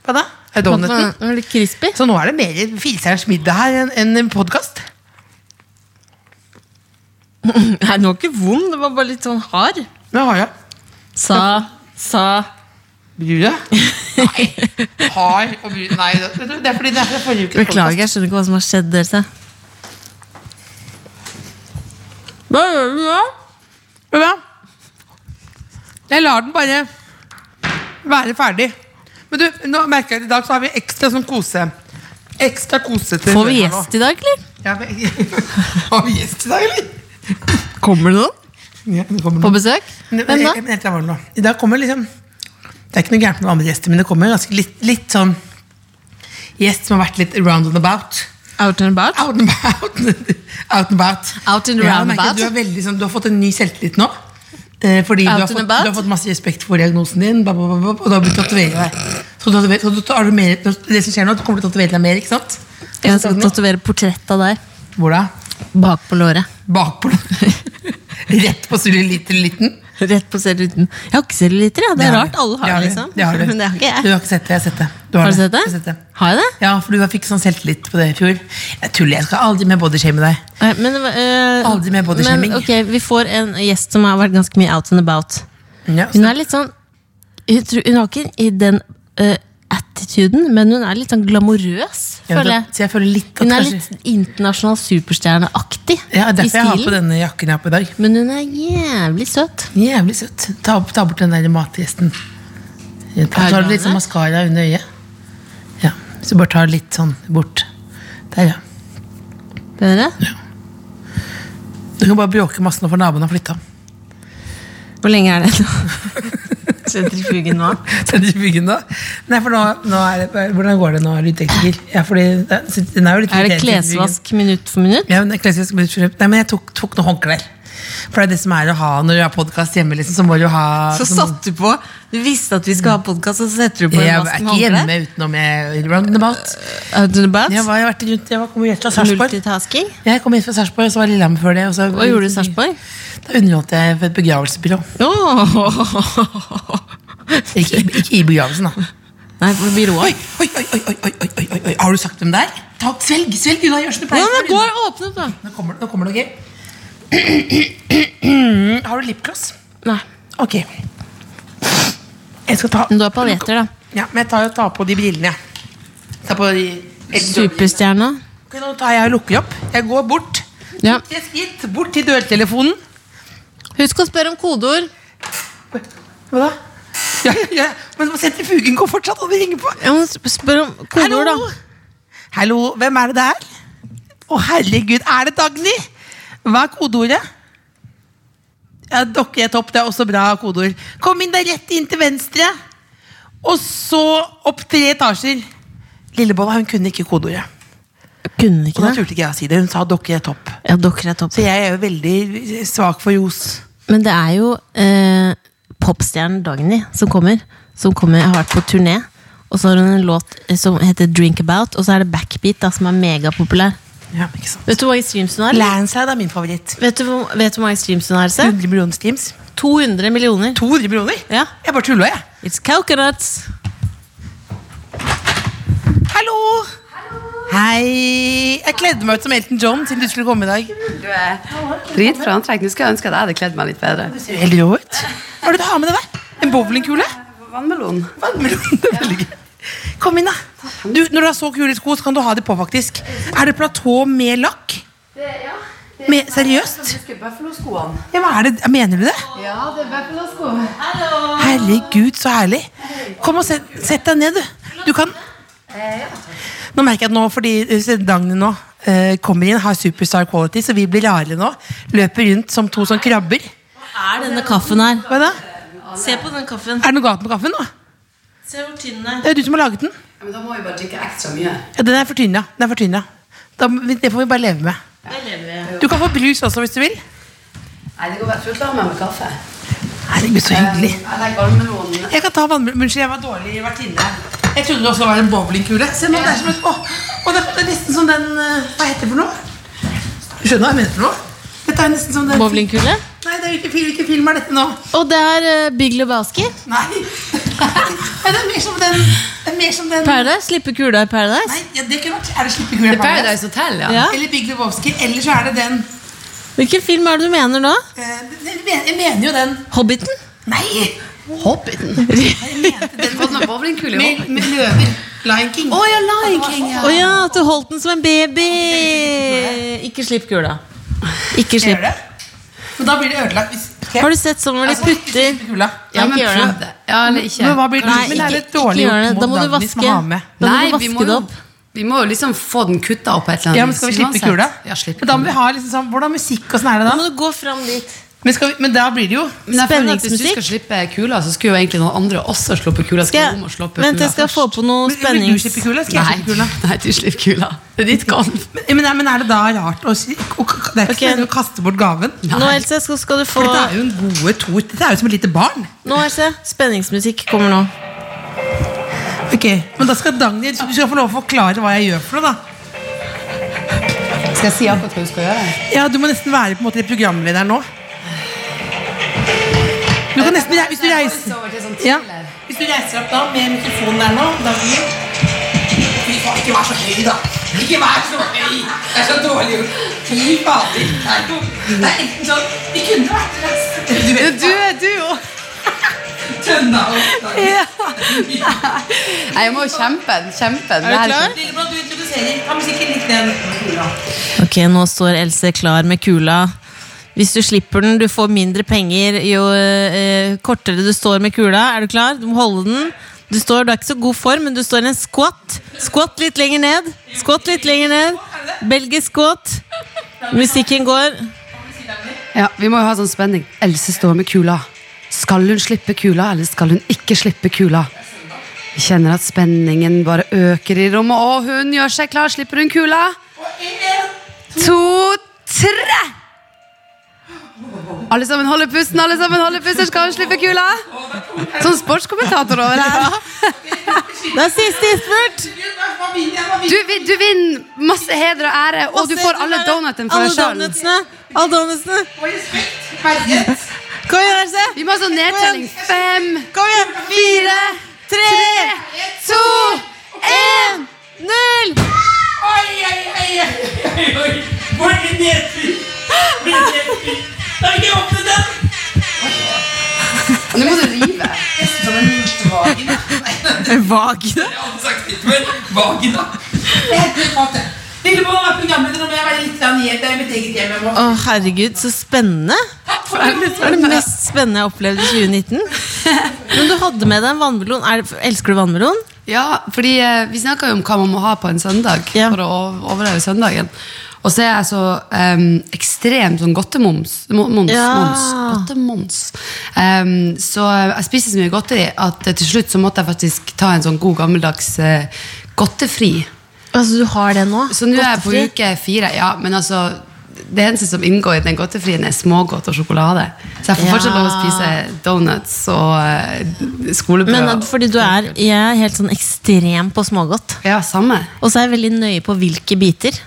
Speaker 2: Hva da? Er det donuten?
Speaker 3: Den er Litt crispy.
Speaker 2: Så nå er det mer Filserens middag her enn enn en podkast.
Speaker 3: Nei, den var ikke vond, den var bare litt sånn hard.
Speaker 2: Nå har jeg.
Speaker 3: Sa, sa
Speaker 2: Brua? Nei. Har og brua Nei, det det er fordi det er fra forrige ukes
Speaker 3: Beklager,
Speaker 2: podcast.
Speaker 3: jeg skjønner ikke hva som har skjedd dere seg. Hva gjør du da?
Speaker 2: Vet du hva? Jeg lar den bare være ferdig. Men du, nå merker jeg at i dag så har vi ekstra sånn kose. Ekstra kosete.
Speaker 3: Får vi
Speaker 2: hjørne nå.
Speaker 3: gjest i dag, eller?
Speaker 2: Ja, vi- har vi gjest i dag, eller?
Speaker 3: Kommer det noen?
Speaker 2: Ja, det kommer
Speaker 3: På
Speaker 2: noen.
Speaker 3: besøk?
Speaker 2: Men-
Speaker 3: Hvem da?
Speaker 2: jeg- jeg- jeg tror det var noe. I dag kommer liksom Det er ikke noe gærent med andre gjester, men det kommer ganske litt, litt sånn gjest som har vært litt round and about.
Speaker 3: Out and about?
Speaker 2: Out and about. Out and about.
Speaker 3: Out and
Speaker 2: Ja, jeg merker
Speaker 3: roundabout.
Speaker 2: at du, er veldig, sånn, du har fått en ny selvtillit nå. Eh, fordi du
Speaker 3: Out
Speaker 2: har,
Speaker 3: and
Speaker 2: fått, du
Speaker 3: about.
Speaker 2: har fått masse respekt for diagnosen din, bla, bla, bla, bla, og du har begynt å tatovere deg. Så, du tatover- så du, har du mer, det som skjer nå, er at du kommer til å tatovere deg mer, ikke sant?
Speaker 3: Jeg skal tatovere portrett av deg.
Speaker 2: Hvor da?
Speaker 3: Bak på låret.
Speaker 2: Bakpå Rett på cellulitten.
Speaker 3: Rett på cellulitten. Jeg har ikke cellulitter, jeg. Det er rart. Alle har
Speaker 2: det.
Speaker 3: det,
Speaker 2: du.
Speaker 3: liksom.
Speaker 2: Det har du.
Speaker 3: Men det har
Speaker 2: Du
Speaker 3: ikke jeg.
Speaker 2: har ikke sett det. Jeg har sett det. har
Speaker 3: Har du
Speaker 2: det.
Speaker 3: sett
Speaker 2: Jeg
Speaker 3: det?
Speaker 2: har sett det.
Speaker 3: Har jeg det?
Speaker 2: Ja, for du fikk sånn selvtillit på det i fjor. Jeg tuller, jeg skal aldri mer bodyshame deg.
Speaker 3: Eh, Men, eh,
Speaker 2: Aldri med body
Speaker 3: men
Speaker 2: shaming.
Speaker 3: ok, vi får en gjest som har vært ganske mye out and about.
Speaker 2: Ja, så-
Speaker 3: Hun er litt sånn Hun, tror, hun har ikke i den eh, attituden, men hun er litt sånn glamorøs,
Speaker 2: Ja,
Speaker 3: føler
Speaker 2: det-
Speaker 3: jeg.
Speaker 2: Så jeg føler litt at
Speaker 3: Hun er
Speaker 2: kanskje-
Speaker 3: litt internasjonal superstjerneaktig
Speaker 2: Ja,
Speaker 3: i
Speaker 2: derfor jeg har på
Speaker 3: stilen.
Speaker 2: denne jakken jeg har på i dag.
Speaker 3: Men hun er jævlig søt.
Speaker 2: Jævlig søtt. Ta, opp- ta bort den der matgjesten. Ta, tar du litt sånn maskara under øyet. Ja, så bare ta litt sånn bort. Der, ja.
Speaker 3: Bedre?
Speaker 2: Du kan bare bråke masse nå, for naboen har flytta.
Speaker 3: Hvor lenge er det nå? Sentrifugen nå?
Speaker 2: Sentrifugen, da? Nei, for nå, nå er det, hvordan går det nå, lydtekniker? Ja, fordi det- den er jo litt
Speaker 3: Er det
Speaker 2: irriterende, sentrifugen.
Speaker 3: klesvask minutt for minutt?
Speaker 2: Ja, men det er klesvask minutt for minutt. Nei, men jeg tok, tok noen håndklær. For det er det som er å ha når du har podkast hjemme. Liksom, så må du ha sånn-
Speaker 3: Så
Speaker 2: så må-
Speaker 3: satt du på Du visste at vi skal ha podkast, og så setter du på
Speaker 2: Jeg
Speaker 3: en
Speaker 2: er
Speaker 3: vask
Speaker 2: ikke
Speaker 3: med håndklær?
Speaker 2: hjemme utenom eh, jeg roundabout.
Speaker 3: Out and about?
Speaker 2: Jeg, var, jeg, har vært rundt, jeg var, kom helt fra Sarpsborg.
Speaker 3: Multitasking?
Speaker 2: Jeg kom hit fra Sarpsborg, og så var Lillehammer før det. Og så,
Speaker 3: Hva gjorde du i Sarpsborg?
Speaker 2: Da underholdt jeg for et begravelsebyrå. Ikke, ikke i begravelsen, da.
Speaker 3: Nei, for
Speaker 2: Oi,
Speaker 3: byrået.
Speaker 2: oi, oi, oi, oi, oi, oi, oi, oi. Har du sagt hvem det er? Ta, svelg, svelg unna, gjør som du
Speaker 3: Ja,
Speaker 2: pleier.
Speaker 3: men gå og åpne opp, da.
Speaker 2: Nå kommer det, nå kommer det, ok? Har du lipgloss?
Speaker 3: Nei,
Speaker 2: Ok. Jeg skal ta
Speaker 3: men du har paljetter, da.
Speaker 2: Ja, men jeg tar, tar på de brillene, jeg. Ta på de
Speaker 3: Superstjerna.
Speaker 2: Ok, Nå tar jeg og lukker opp. Jeg går bort.
Speaker 3: Ja.
Speaker 2: Et skritt bort til dørtelefonen.
Speaker 3: Husk å spørre om kodeord.
Speaker 2: Hva da? Ja, ja, ja. Men sentrifugen går fortsatt, og det ringer på.
Speaker 3: Ja, men sp- spør om kodeord, da.
Speaker 2: Hallo, hvem er det det er? Å, herregud, er det Dagny? Hva er kodeordet? Ja, Dokke er topp, det er også bra kodeord. Kom inn der rett inn til venstre. Og så opp tre etasjer. Lillebolla hun kunne ikke kodeordet.
Speaker 3: Kunne
Speaker 2: Og
Speaker 3: ikke
Speaker 2: da
Speaker 3: det.
Speaker 2: turte ikke jeg å si det. Hun sa dokke er topp.
Speaker 3: Ja, dere er topp.
Speaker 2: Så jeg er jo veldig svak for ljos.
Speaker 3: Men det er jo eh, popstjernen Dagny som kommer. Som kommer, har vært på turné. Og så har hun en låt eh, som heter Drink About, og så er det Backbeat, da, som er megapopulær.
Speaker 2: Ja, ikke sant.
Speaker 3: Vet du hvor mange streams hun har? eller?
Speaker 2: Landslide er min favoritt.
Speaker 3: Vet du, hvor- vet du hvor mange streams hun har? Se?
Speaker 2: 100 millioner streams.
Speaker 3: 200 millioner.
Speaker 2: 200 millioner?
Speaker 3: Ja.
Speaker 2: Jeg bare tulla, jeg.
Speaker 3: It's coconuts.
Speaker 2: Hallo! Hei! Jeg kledde meg ut som Elton John siden du skulle komme i dag.
Speaker 4: Du er dritbra antrekk. Nå skulle jeg ønske at jeg hadde kledd meg litt bedre.
Speaker 2: Du ser jo helt rå ut. Hva er det du har med deg der? En bowlingkule?
Speaker 4: Vannmelon.
Speaker 2: Vannmelon, det er veldig gøy. Kom inn, da. Du, når du har så kule sko, så kan du ha de på, faktisk. Er det platå med lakk? Med, seriøst?
Speaker 4: Buffalo-skoene.
Speaker 2: Ja, hva er det? Mener du det?
Speaker 4: Ja, det er buffalo-sko.
Speaker 2: Herregud, så herlig. Kom og sett, sett deg ned, du. Du kan
Speaker 4: Eh,
Speaker 2: Nå merker jeg at nå, fordi eh, Dagny nå eh, kommer inn, har superstar quality, så vi blir rarere nå. Løper rundt som to sånn krabber.
Speaker 3: Er denne kaffen her?
Speaker 2: Hva da?
Speaker 3: Se på den kaffen.
Speaker 2: Er det noe galt med kaffen nå?
Speaker 3: Se hvor tynn den er.
Speaker 2: Det er du som har laget den.
Speaker 4: Men da må vi bare drikke ekstra mye.
Speaker 2: Ja, den er for tynn, ja. Den er for tynn, ja. Da, det får vi bare leve med.
Speaker 3: Der lever jeg.
Speaker 2: Du kan få brus også, hvis du vil.
Speaker 4: Nei, det går bare fullt av meg med kaffe. Eh,
Speaker 2: Herregud, så hyggelig.
Speaker 4: Jeg legger vannmelonen.
Speaker 2: Jeg kan ta vannmelon. Unnskyld, jeg var dårlig vertinne. Jeg trodde det også var en bowlingkule. Se nå, det er som et... Åh, og det, det er nesten som den eh, Hva heter det for noe? Du skjønner hva jeg mener for noe? Dette er nesten som den
Speaker 3: Bowlingkule?
Speaker 2: Nei, det er jo ikke film. Hvilken film er dette nå?
Speaker 3: Og det er eh, Big Lebowski.
Speaker 2: Nei. Nei, det er mer som den Det er mer som den
Speaker 3: Paradise. Slippe kula i Paradise.
Speaker 2: Nei, ja, det kunne vært Er det Slippekule?
Speaker 4: Det er Paradise Hotel, ja.
Speaker 3: Ja.
Speaker 2: Eller Big Lebowski. Eller så er det den
Speaker 3: Hvilken film er det du mener nå?
Speaker 2: eh, det- det- Jeg mener jo den
Speaker 3: Hobbiten?
Speaker 2: Nei!
Speaker 4: Hobbiten. Den fått noen bowlingkule i
Speaker 2: Med,
Speaker 4: hobbiten.
Speaker 2: med løver. Lion King.
Speaker 4: Å ja, Lion King,
Speaker 3: Å ja, at du holdt den som en baby! Ikke slipp kula. Ikke
Speaker 2: Gjør
Speaker 3: slipp.
Speaker 2: det? Men da blir det ødelagt. Hvis, Ok.
Speaker 3: Har du sett sånn hvor de
Speaker 2: Altså,
Speaker 3: putter
Speaker 2: ikke kula.
Speaker 4: Ja, men
Speaker 3: Ikke gjør
Speaker 4: prøv det. Ja, eller ikke.
Speaker 2: Men hva blir det?
Speaker 3: Nei,
Speaker 2: men det er
Speaker 3: ikke,
Speaker 2: litt
Speaker 3: ikke
Speaker 2: dårlig
Speaker 3: gjør det.
Speaker 2: gjort mot
Speaker 3: Da må du
Speaker 2: Dagny som
Speaker 3: vaske.
Speaker 2: har med.
Speaker 3: Da
Speaker 4: Nei,
Speaker 3: må
Speaker 4: vi
Speaker 3: du vaske
Speaker 4: må,
Speaker 3: det
Speaker 4: jo,
Speaker 3: opp.
Speaker 4: vi må jo liksom få den kutta opp på et eller annet
Speaker 2: Ja, men skal vi
Speaker 4: vis,
Speaker 2: slippe
Speaker 4: uansett.
Speaker 2: kula?
Speaker 4: Ja, slippe
Speaker 2: Men da må vi ha liksom sånn, Hvordan musikk og sånn er det
Speaker 3: Da
Speaker 2: da?
Speaker 3: må du gå fram dit.
Speaker 2: Men, skal vi, men da blir det jo
Speaker 4: Men jeg føler at Hvis du
Speaker 3: Spenningsmusikk?
Speaker 4: skal slippe kula, så skulle jo egentlig noen andre også sluppe kula. Skal
Speaker 3: Skal
Speaker 4: Roma
Speaker 3: jeg,
Speaker 4: sluppe
Speaker 3: vent,
Speaker 4: kula
Speaker 3: jeg skal få
Speaker 4: først?
Speaker 3: på noe
Speaker 2: Men- men Vil du
Speaker 3: spennings...
Speaker 2: slippe kula? Skal jeg
Speaker 4: Nei,
Speaker 2: slippe kula?
Speaker 4: nei, du slipper kula. Det er ditt kall.
Speaker 2: Men, men, er- men er det da rart å si å- å- Det er ikke
Speaker 3: Ok.
Speaker 2: så meningen å kaste bort gaven.
Speaker 3: Nå, Else, skal, skal du få
Speaker 2: For dette er jo en gode to Dette er jo som et lite barn.
Speaker 3: Nå, Else, spenningsmusikk kommer nå.
Speaker 2: Ok, Men da skal Dagny Du skal få lov å forklare hva jeg gjør for noe, da.
Speaker 4: Skal jeg si akkurat hva du skal gjøre?
Speaker 2: Ja, du må nesten være på en måte litt programleder nå. Du kan nesten, hvis du reiser
Speaker 3: sånn
Speaker 2: ja. Hvis du reiser opp da med mikrofonen der nå da vil
Speaker 5: Fy faen, ikke vær så høy, da! Ikke vær så høy! Det er så dårlig gjort. Fy fader. Det er jo Det er enten sånn Vi kunne vært resten. Du vet,
Speaker 4: Du er du òg.
Speaker 5: tønna og
Speaker 4: Nei, jeg må jo kjempe den. Kjempe den.
Speaker 3: Er du
Speaker 4: Det her-
Speaker 3: klar?
Speaker 5: Lillebror, du introduserer. Ta musikken litt ned.
Speaker 3: Ok, nå står Else klar med kula. Hvis du slipper den, du får mindre penger jo eh, kortere du står med kula. Er du klar? Du må holde den. Du, står, du er ikke så god form, men du står i en squat. Squat litt lenger ned. Squat litt lenger ned. Belgisk squat. Musikken går.
Speaker 4: Ja, vi må jo ha sånn spenning. Else står med kula. Skal hun slippe kula, eller skal hun ikke slippe kula? Vi kjenner at spenningen bare øker i rommet, og hun gjør seg klar. Slipper hun kula? To, tre! Alle sammen holder pusten, alle sammen holder pusten. Skal hun slippe kula? Sånn sportskommentator over her.
Speaker 3: Det er siste innspurt!
Speaker 4: Du, vin- du vinner masse heder og ære, og du får alle donutene for
Speaker 3: Alle
Speaker 4: deg sjøl.
Speaker 3: donutsene. Alle donutsene. Kom igjen, Else.
Speaker 4: Vi må ha sånn nedtelling. Fem,
Speaker 3: Kom igjen.
Speaker 4: fire,
Speaker 3: Tre,
Speaker 4: to, én!
Speaker 3: null!
Speaker 5: Oi, oi, oi, oi, oi. Hvor er det nedfri? Hvor er det nedfri? Da vil jeg åpne den.
Speaker 4: Nå må du rive.
Speaker 5: Som en vagina.
Speaker 3: Vagina.
Speaker 5: Jeg hadde sagt litt, men vagina. Lillebror har programleder, og jeg være litt helt i mitt eget hjem.
Speaker 3: Å, herregud, så spennende. Det var det mest spennende jeg har opplevd i 2019. Men du hadde med deg en vannmelon. Er det, elsker du vannmelon?
Speaker 4: Ja, fordi eh, vi snakker jo om hva man må ha på en søndag
Speaker 3: Ja.
Speaker 4: for å ov- overleve søndagen. Og så er jeg så em, ekstremt sånn godtemoms. mo- Moms,
Speaker 3: Ja.
Speaker 4: moms, godtemoms. Em, så jeg spiser så mye godteri at eh, til slutt så måtte jeg faktisk ta en sånn god gammeldags eh, godtefri.
Speaker 3: Altså, du har det nå?
Speaker 4: Så nå er jeg på
Speaker 3: Godtefri.
Speaker 4: uke fire. Ja, men altså det eneste som inngår i den godtefrien, er smågodt og sjokolade. Så jeg får
Speaker 3: Ja.
Speaker 4: fortsatt lov å spise donuts og eh, skolebrød.
Speaker 3: Men
Speaker 4: og-
Speaker 3: at, fordi du er, jeg er helt sånn ekstrem på smågodt.
Speaker 4: Ja, samme.
Speaker 3: Og så er jeg veldig nøye på hvilke biter.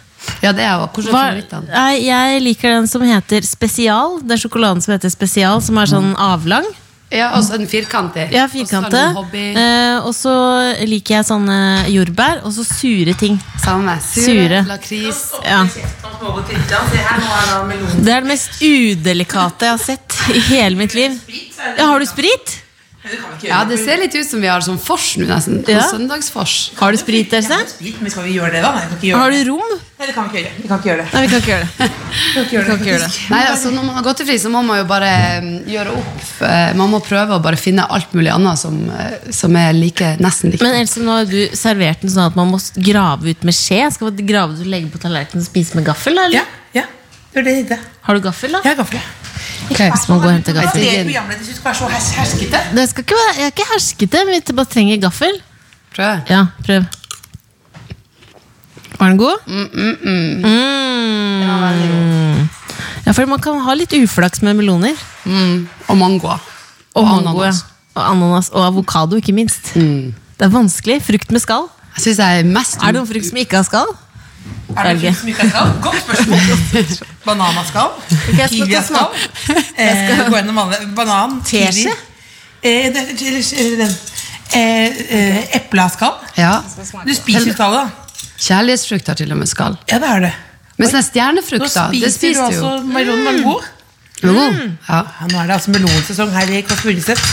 Speaker 4: Ja, det er jo Hvordan er
Speaker 3: Hva,
Speaker 4: favorittene?
Speaker 3: nei, jeg liker den som heter Spesial. Det er sjokoladen som heter Spesial, som er sånn avlang.
Speaker 4: Ja, og så en firkantig.
Speaker 3: Ja,
Speaker 4: Og så
Speaker 3: firkante.
Speaker 4: har du en hobby.
Speaker 3: Eh, og så liker jeg sånne jordbær, og så sure ting.
Speaker 4: Samme. Sure,
Speaker 3: sure.
Speaker 4: lakris.
Speaker 3: Ja.
Speaker 5: Sprit,
Speaker 3: Det er det mest udelikate jeg har sett i hele mitt liv.
Speaker 5: er det.
Speaker 3: Ja, har du sprit?
Speaker 5: Men det kan vi ikke
Speaker 4: Ja,
Speaker 5: gjøre.
Speaker 4: det ser litt ut som vi har sånn fors nå, nesten.
Speaker 3: Ja.
Speaker 4: Sånn Søndagsfors.
Speaker 3: Har du sprit, Else?
Speaker 5: Sprit, men skal vi gjøre det, da? Nei, vi kan ikke gjøre
Speaker 3: Har
Speaker 5: det.
Speaker 3: du rom?
Speaker 5: Nei, det kan vi ikke gjøre. Vi kan ikke gjøre det.
Speaker 3: Nei, vi kan ikke gjøre det. Vi kan ikke gjøre det.
Speaker 4: Nei, altså Når man har godtefri, så må man jo bare mm, gjøre opp. Eh, Man må prøve å bare finne alt mulig annet som, eh, som er like, nesten like.
Speaker 3: Men Else, nå har du servert den sånn at man må grave ut med skje. Skal man grave ut og legge på tallerkenen og spise med gaffel? da,
Speaker 2: Ja,
Speaker 3: Eller?
Speaker 2: ja. Det var det jeg tenkte.
Speaker 3: Har du gaffel, da?
Speaker 2: Jeg har gaffel.
Speaker 4: Ok.
Speaker 3: Så må man gå og hente
Speaker 2: Altså,
Speaker 5: Det
Speaker 3: gaffel.
Speaker 5: er et programleder som skal være så hers- herskete.
Speaker 3: Det skal ikke være, jeg er ikke herskete, men vi bare trenger gaffel.
Speaker 4: Prøv.
Speaker 3: Ja, prøv. Var den god? Mm, Ja, for man kan ha litt uflaks med meloner.
Speaker 4: Mm. Og mangoer.
Speaker 3: Og mango, ja. Og ananas. Og avokado, ikke minst. Det er vanskelig. Frukt med skall.
Speaker 4: Jeg syns jeg er mest
Speaker 3: Er det noen frukt som ikke har skall?
Speaker 5: Er det
Speaker 3: Helge.
Speaker 5: noe som ikke er skall? Godt spørsmål. Bananaskall.
Speaker 3: jeg skal ta
Speaker 5: Kiwiaskall. Eh, gå gjennom alle. Banan.
Speaker 3: Teskje?
Speaker 5: kiwi. Eh, det- eller- eller den. Eh, eh, Eplaskall.
Speaker 4: Ja.
Speaker 2: Du spiser skallet, da.
Speaker 4: Kjærlighetsfrukt har til og med skall.
Speaker 2: Ja, det er det.
Speaker 4: Mens den
Speaker 2: Nå
Speaker 4: stjernefrukt, da, det
Speaker 2: spiser du Mm.
Speaker 4: spiser du jo.
Speaker 2: altså
Speaker 3: Mm.
Speaker 2: melon mango.
Speaker 4: Jo, Ja.
Speaker 2: Ja, nå er det altså melonsesong her i Kåss Furuseth.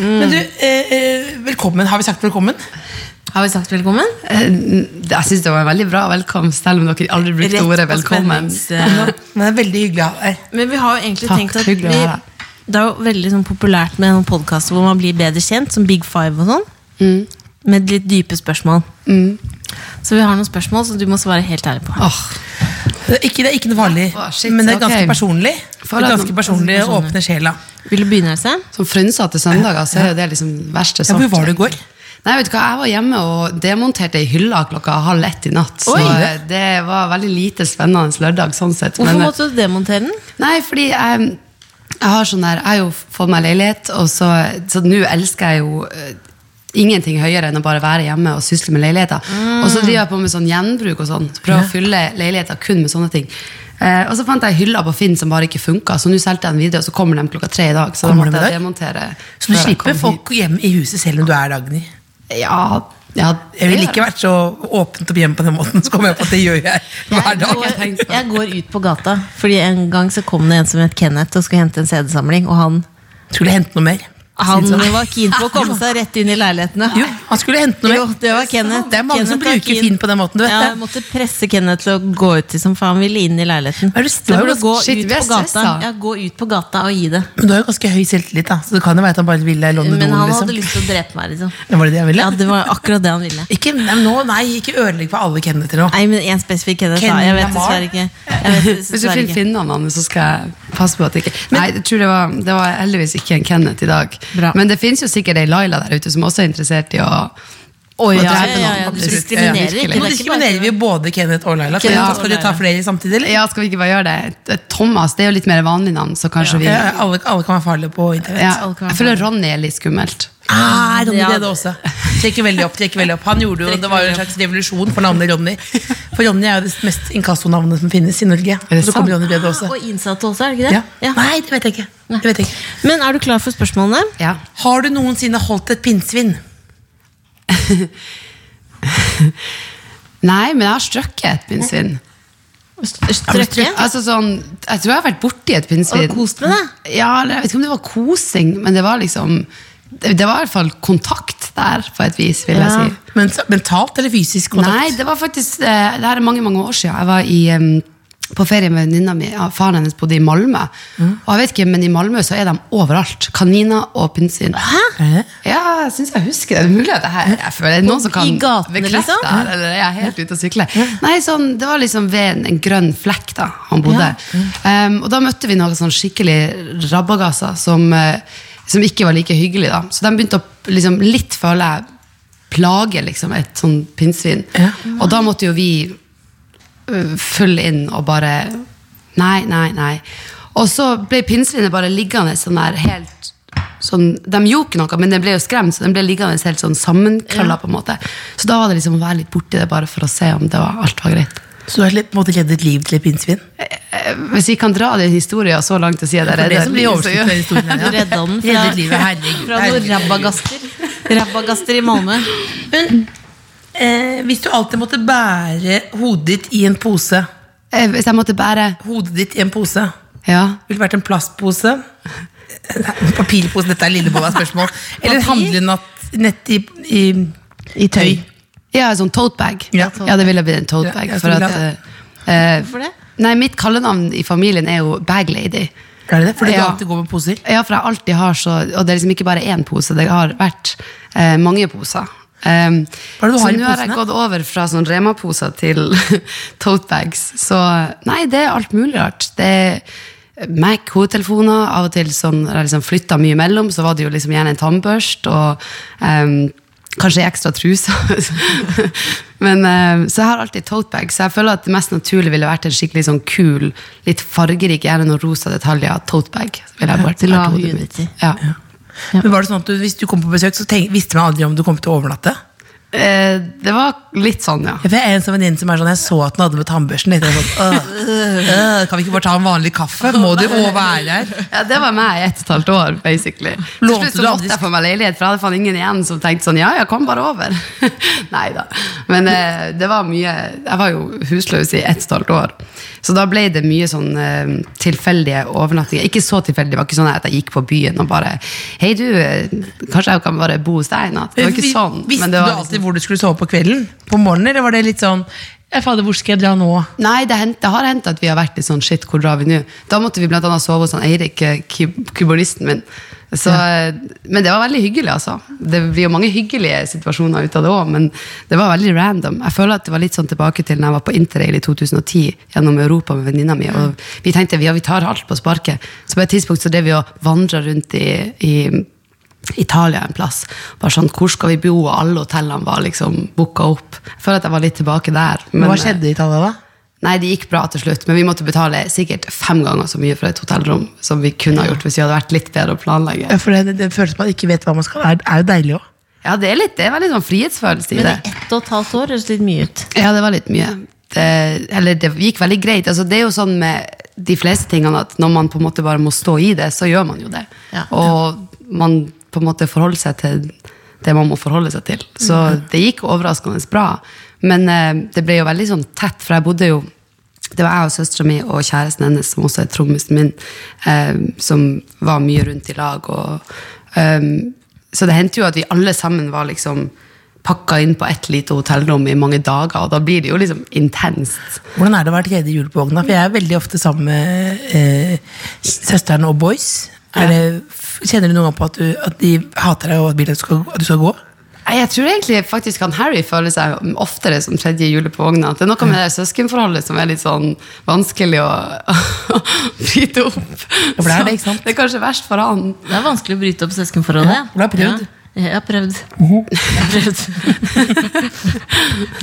Speaker 3: Mm.
Speaker 2: Men du, eh, eh, velkommen. Har vi sagt velkommen?
Speaker 3: Har vi sagt velkommen?
Speaker 4: Eh, Jeg syns det var en veldig bra velkomst, selv om dere aldri brukte ordet velkommen.
Speaker 3: spennings-
Speaker 2: Men det er veldig hyggelig å ha eh, deg her.
Speaker 3: Men vi har jo egentlig
Speaker 4: Takk,
Speaker 3: tenkt at
Speaker 4: hyggelig å
Speaker 3: vi,
Speaker 4: være her.
Speaker 3: Det er jo veldig sånn populært med noen podkaster hvor man blir bedre kjent, som Big Five og sånn.
Speaker 4: Mm.
Speaker 3: Med litt dype spørsmål. Så vi har noen spørsmål som du må svare helt ærlig på.
Speaker 4: Åh,
Speaker 2: Det er ikke, det er ikke noe farlig,
Speaker 4: Å, shit,
Speaker 2: men det er ganske
Speaker 4: ok.
Speaker 2: personlig.
Speaker 4: For
Speaker 2: Det er
Speaker 4: at-
Speaker 3: sånn
Speaker 2: ganske personlig å åpne sjela.
Speaker 3: Vil du begynne, Else?
Speaker 4: Som frynsete søndager så er jo det liksom den verste
Speaker 2: Ja,
Speaker 4: sort.
Speaker 2: hvor var du i går?
Speaker 4: Nei, vet du hva, Jeg var hjemme og demonterte ei hylle klokka halv ett i natt. Så
Speaker 2: Oi.
Speaker 4: eh, det var veldig lite spennende lørdag. sånn sett.
Speaker 3: Hvorfor
Speaker 4: men-
Speaker 2: eh,
Speaker 3: måtte du demontere den?
Speaker 4: Nei, fordi ehm, jeg, jeg har sånn der, jeg har jo fått meg leilighet, og så, så nå elsker jeg jo eh, ingenting høyere enn å bare være hjemme og sysle med leiligheter. Og
Speaker 2: Mm.
Speaker 4: så driver jeg på med sånn gjenbruk og sånn. Prøver å fylle leiligheter kun med sånne ting. Eh, og så fant jeg hylla på Finn som bare ikke funka, så nå solgte jeg den videre. Og så kommer de klokka tre i dag. Så da
Speaker 2: Kommer de
Speaker 4: måtte
Speaker 2: i
Speaker 4: jeg
Speaker 2: dag?
Speaker 4: demontere.
Speaker 2: Så du
Speaker 4: før jeg
Speaker 2: slipper
Speaker 4: kom
Speaker 2: folk hjem i huset selv om du er Dagny?
Speaker 4: hit. Ja, ja
Speaker 2: Jeg
Speaker 4: det
Speaker 2: ville
Speaker 4: gjør
Speaker 2: ikke vært så åpent og hjemme på den måten. Så kommer jeg på at det gjør jeg hver
Speaker 3: Jeg
Speaker 2: dag.
Speaker 3: går, jeg går ut på gata, Fordi en gang så kom det en som het Kenneth og skulle hente en CD-samling. Og han,
Speaker 2: Skulle hente noe mer.
Speaker 3: han
Speaker 2: Synes jeg.
Speaker 3: var keen på å komme seg rett inn i leilighetene.
Speaker 2: Jo, han skulle hente noe
Speaker 3: Jo,
Speaker 2: mer.
Speaker 3: det var Kenneth.
Speaker 2: Det er mange som
Speaker 3: Kenneth var
Speaker 2: bruker
Speaker 3: keen.
Speaker 2: Finn på den måten, du vet
Speaker 3: ja,
Speaker 2: det.
Speaker 3: Jeg måtte presse Kenneth til å gå ut til som faen ville inn i leiligheten.
Speaker 2: Er du
Speaker 3: Så jeg burde
Speaker 2: støl?
Speaker 3: gå
Speaker 4: Shit,
Speaker 3: ut
Speaker 4: vi er
Speaker 3: på gata
Speaker 4: stressa.
Speaker 3: Ja, gå ut på gata og gi det.
Speaker 2: Men du har jo ganske høy selvtillit, da, så det kan jo være at han bare ville låne
Speaker 3: Men
Speaker 2: doen.
Speaker 3: han
Speaker 2: Liksom.
Speaker 3: hadde lyst til å drepe meg, liksom.
Speaker 2: Det var det det jeg ville?
Speaker 3: Ja, det var akkurat det han ville.
Speaker 2: Ikke, nei, nå, nei, ikke ødelegg for alle Kennether nå.
Speaker 3: Nei, men en spesifikk Kenneth, da. Jeg vet dessverre ikke. Jeg vet
Speaker 4: Hvis du
Speaker 3: dessverre
Speaker 4: finner
Speaker 3: ikke.
Speaker 4: finnene hans, så skal jeg passe på at det ikke Nei, jeg tror det var, det var heldigvis ikke en Kenneth i dag.
Speaker 3: Bra.
Speaker 4: Men det finnes jo sikkert ei Laila der ute som også er interessert i å
Speaker 3: Å, ja,
Speaker 4: å
Speaker 3: ja,
Speaker 4: drepe
Speaker 3: ja,
Speaker 4: noen,
Speaker 3: ja, du
Speaker 4: absolutt.
Speaker 3: diskriminerer
Speaker 4: Ja,
Speaker 3: ikke.
Speaker 2: Nå
Speaker 4: virkelig.
Speaker 3: Det er ikke bare-
Speaker 2: diskriminerer vi jo både Kenneth og Laila. Skal,
Speaker 3: Kenneth
Speaker 2: vi,
Speaker 3: og
Speaker 2: skal du ta
Speaker 3: Laila.
Speaker 2: flere samtidig, eller?
Speaker 4: Ja, skal vi ikke bare gjøre det? Thomas det er jo litt mer vanlig navn, så kanskje
Speaker 2: Ja, alle, alle kan være farlige på internett.
Speaker 4: vi ja.
Speaker 3: alle kan være
Speaker 4: Jeg føler Ronny er litt skummelt.
Speaker 2: Ah, Ronny
Speaker 3: Ja,
Speaker 2: det er det også. Trekker veldig opp. trekker veldig opp Han gjorde jo,
Speaker 3: Trekker
Speaker 2: Det var jo en
Speaker 3: veldig
Speaker 2: slags revolusjon for navnet Ronny. For Ronny er jo det mest inkassonavnet som finnes i Norge.
Speaker 4: det
Speaker 2: Så kommer Ronny
Speaker 4: sant?
Speaker 2: Brede også.
Speaker 3: Ah, Og innsatte også, er det ikke det?
Speaker 2: Ja. Nei, det vet jeg ikke. Det vet jeg ikke.
Speaker 3: Men er du klar for spørsmålene?
Speaker 4: Ja.
Speaker 2: Har du noensinne holdt et pinnsvin?
Speaker 4: Nei, men jeg har strøkket et pinnsvin.
Speaker 3: Strøkke?
Speaker 4: Altså sånn, jeg tror jeg har vært borti et
Speaker 3: Har
Speaker 4: pinnsvin.
Speaker 3: du kost med det?
Speaker 4: Ja, eller jeg vet ikke om det var kosing, men det var liksom Det, det var i hvert fall kontakt der, på et vis, vil jeg
Speaker 3: Ja.
Speaker 4: si.
Speaker 2: Men, mentalt eller fysisk kontakt?
Speaker 4: Nei, det var faktisk eh, Det her er mange, mange år siden Jeg var i em, på ferie med venninna mi, ja, faren hennes bodde i Malmø. Og jeg vet ikke, men i Malmø så er de overalt. Kaniner og pinnsvin.
Speaker 2: Hæ?
Speaker 4: Ja, jeg syns jeg husker det. Det er mulig at det her jeg føler det er noen som kan
Speaker 3: i gatene,
Speaker 4: bekrefte
Speaker 3: liksom?
Speaker 4: det her, Eller jeg er helt ute å sykle. Nei, sånn, Det var liksom ved en, en grønn flekk da han bodde. Em, og da møtte vi noen sånn skikkelig rabagasser som, eh, som ikke var like hyggelig da. Så de begynte å liksom, litt, føler jeg, plage liksom, et sånn pinnsvin.
Speaker 2: Ja.
Speaker 4: Og da måtte jo vi øh, full inn og bare Nei, nei, nei. Og så ble pinnsvinet bare liggende sånn der helt sånn, De gjorde ikke noe, men den ble jo skremt, så den ble liggende helt sånn sammenkrølla. på en måte. Så da var det liksom å være litt borti det bare for å se om det var, alt var greit.
Speaker 2: Så du har litt- på en måte reddet liv til et pinnsvin?
Speaker 4: Eh, Hvis vi kan dra den historien så langt og si at
Speaker 2: Det er
Speaker 4: jeg
Speaker 2: det
Speaker 4: redder
Speaker 2: som blir
Speaker 4: liv, så
Speaker 2: overskriften
Speaker 4: gjør-
Speaker 2: i historien. her,
Speaker 3: Du
Speaker 2: Ja.
Speaker 3: redda den fra,
Speaker 2: Reddet livet, herregud.
Speaker 3: fra noen
Speaker 2: herregud.
Speaker 3: rabagaster. Rabagaster i Malmø.
Speaker 2: Men eh, hvis du alltid måtte bære hodet ditt i en pose
Speaker 4: Eh, Hvis jeg måtte bære
Speaker 2: Hodet ditt i en pose
Speaker 4: Ja.
Speaker 2: Ville det vært en plastpose? En Papirpose, dette er Lillebolla spørsmål. Eller en
Speaker 3: Papir?
Speaker 2: handlenett i, i
Speaker 3: I tøy.
Speaker 4: Ja, en sånn toatbag.
Speaker 2: Ja.
Speaker 4: Ja, ja, det ville blitt en toatbag.
Speaker 2: Ja, jeg
Speaker 4: for
Speaker 2: skulle
Speaker 4: at,
Speaker 2: la-
Speaker 4: eh, eh,
Speaker 3: Hvorfor det?
Speaker 4: nei, mitt kallenavn i familien er jo Bag Lady.
Speaker 2: Er det det? Fordi du
Speaker 4: Ja.
Speaker 2: alltid går med poser?
Speaker 4: Ja, for jeg alltid har så Og det er liksom ikke bare én pose, det har vært eh, mange poser. Um,
Speaker 2: Hva er det du
Speaker 4: så
Speaker 2: har i
Speaker 4: nå har jeg
Speaker 2: posene?
Speaker 4: gått over fra sånn Rema-poser til totebags. Så nei, det er alt mulig rart. Det er Mac, hodetelefoner, av og til sånn når jeg liksom flytta mye imellom, så var det jo liksom gjerne en tannbørst og em, kanskje ei ekstra truse. Men, em, så jeg har alltid totebag, så jeg føler at det mest naturlige ville vært en skikkelig sånn kul, litt fargerik, gjerne noen rosa detaljer, totebag. Så ville jeg bare
Speaker 3: Til å
Speaker 4: vært
Speaker 3: ha
Speaker 4: hodet
Speaker 3: hodet
Speaker 4: mitt.
Speaker 3: i.
Speaker 4: Ja.
Speaker 2: Men var det sånn at du, Hvis du kom på besøk, så tenk, visste man aldri om du kom til å overnatte?
Speaker 4: Eh, det var litt sånn, ja.
Speaker 2: Jeg har en sånn venninne som er sånn Jeg så at hun hadde med tannbørsten. Jeg tenkte sånn, øh, øh, kan vi ikke bare ta en vanlig kaffe? Må du òg være her?
Speaker 4: Ja, Det var meg i ett og et halvt år, basically. Til
Speaker 2: Lånte
Speaker 4: slutt så
Speaker 2: du
Speaker 4: måtte
Speaker 2: andres-
Speaker 4: jeg få meg leilighet, for jeg hadde faen ingen igjen som tenkte sånn, ja, ja, kom bare over. Nei da. Men eh, det var mye Jeg var jo husløs i ett og et halvt år, så da ble det mye sånn eh, tilfeldige overnattinger. Ikke så tilfeldig, det var ikke sånn at jeg gikk på byen og bare Hei, du, eh, kanskje jeg kan bare bo hos deg i natt? Det var ikke sånn.
Speaker 2: Vi- Visste
Speaker 4: men det var
Speaker 2: du
Speaker 4: liksom-
Speaker 2: alltid hvor du skulle sove på kvelden? På morgenen, eller var det litt sånn «Ja, Fader, hvor skal jeg dra nå?
Speaker 4: Nei, det, hent, det har hendt at vi har vært litt sånn shit, hvor drar vi nå? Da måtte vi blant annet sove hos han Eirik, eh, keyb- keyboardisten min. Så, eh, Men det var veldig hyggelig, altså. Det blir jo mange hyggelige situasjoner ut av det òg, men det var veldig random. Jeg føler at det var litt sånn tilbake til når jeg var på interrail i 2010 gjennom Europa med venninna mi, og
Speaker 2: Mm.
Speaker 4: vi tenkte ja, vi tar alt på sparket. Så på et tidspunkt så drev vi og vandra rundt i, i Italia en plass. Bare sånn, Hvor skal vi bo? Og alle hotellene var liksom booka opp. Jeg føler at jeg var litt tilbake der. men-
Speaker 2: Hva skjedde i Italia da?
Speaker 4: Nei, det gikk bra til slutt, men vi måtte betale sikkert fem ganger så mye for et hotellrom som vi kunne ha gjort hvis vi hadde vært litt bedre å planlegge.
Speaker 2: Ja, For det, det føles som man ikke vet hva man skal. Det er, er jo deilig òg.
Speaker 4: Ja, Ja, det, er litt, det var litt sånn frihetsfølelse i
Speaker 3: Men
Speaker 4: det.
Speaker 3: i ett og et halvt år høres litt mye ut.
Speaker 4: Ja, det var litt mye. Det, eller det gikk veldig greit. Altså, det er jo sånn med de fleste tingene at når man på en måte bare må stå i det, så gjør man jo det.
Speaker 3: Ja.
Speaker 4: Og man på en måte forholder seg til det man må forholde seg til. Så det gikk overraskende bra. Men eh, det ble jo veldig sånn tett, for jeg bodde jo det var jeg og søstera mi og kjæresten hennes, som også er trommisen min, eh, som var mye rundt i lag. Og, ehm, så det hendte jo at vi alle sammen var liksom pakka inn på ett lite hotellrom i mange dager, og da blir det jo liksom intenst.
Speaker 2: Hvordan er det å være tredje hjul på vogna? For jeg er veldig ofte sammen med eh, søsteren og boys. Er det, f- kjenner du noen gang på at, du, at de hater deg og at, vil at, du skal, at du skal gå?
Speaker 4: Nei, Jeg tror egentlig faktisk han Harry føler seg oftere som tredje hjulet på vogna. Det er noe med det søskenforholdet som er litt sånn vanskelig å å bryte opp.
Speaker 2: Ja, for det er
Speaker 4: Så
Speaker 2: det, ikke sant?
Speaker 4: det er kanskje verst for han.
Speaker 3: Det er vanskelig å bryte opp søskenforholdet.
Speaker 2: Ja, du har prøvd.
Speaker 3: Ja, jeg har prøvd.
Speaker 2: Mhm.
Speaker 3: Jeg har prøvd.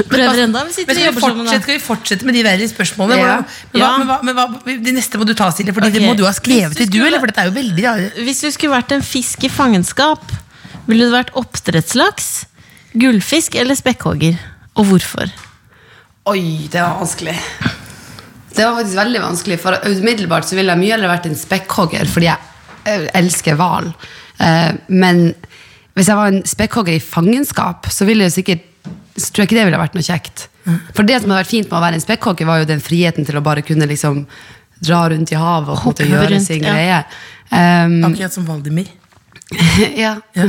Speaker 3: Prøver enda, vi
Speaker 2: Men
Speaker 3: sitter og
Speaker 2: skal, vi
Speaker 3: jobber
Speaker 2: fortsette,
Speaker 3: sammen. da.
Speaker 2: skal vi fortsette med de verre spørsmålene?
Speaker 4: Ja.
Speaker 2: Hvordan- Men, hva,
Speaker 3: Ja.
Speaker 2: men, hva, men hva, De neste må du ta, Silje, Fordi det
Speaker 3: Ok.
Speaker 2: må du ha skrevet
Speaker 3: Hvis
Speaker 2: til
Speaker 3: du
Speaker 2: du,
Speaker 3: skulle-
Speaker 2: eller? For dette er jo veldig rare.
Speaker 3: Hvis du skulle vært en fisk i fangenskap, ville du vært oppdrettslaks, gullfisk eller spekkhogger? Og hvorfor?
Speaker 4: Oi, det var vanskelig. Det var faktisk veldig vanskelig, for umiddelbart så ville jeg mye heller vært en spekkhogger, fordi jeg eh, elsker hval. Eh, Men hvis jeg var en spekkhogger i fangenskap, så ville jeg sikkert så tror jeg ikke det ville vært noe kjekt. For det som hadde vært fint med å være en spekkhogger, var jo den friheten til å bare kunne liksom dra rundt i havet og på en måte
Speaker 3: Hoppe
Speaker 4: gjøre
Speaker 3: rundt,
Speaker 4: sin
Speaker 3: ja.
Speaker 4: greie. Um,
Speaker 2: Akkurat som Valdimir,
Speaker 4: ja.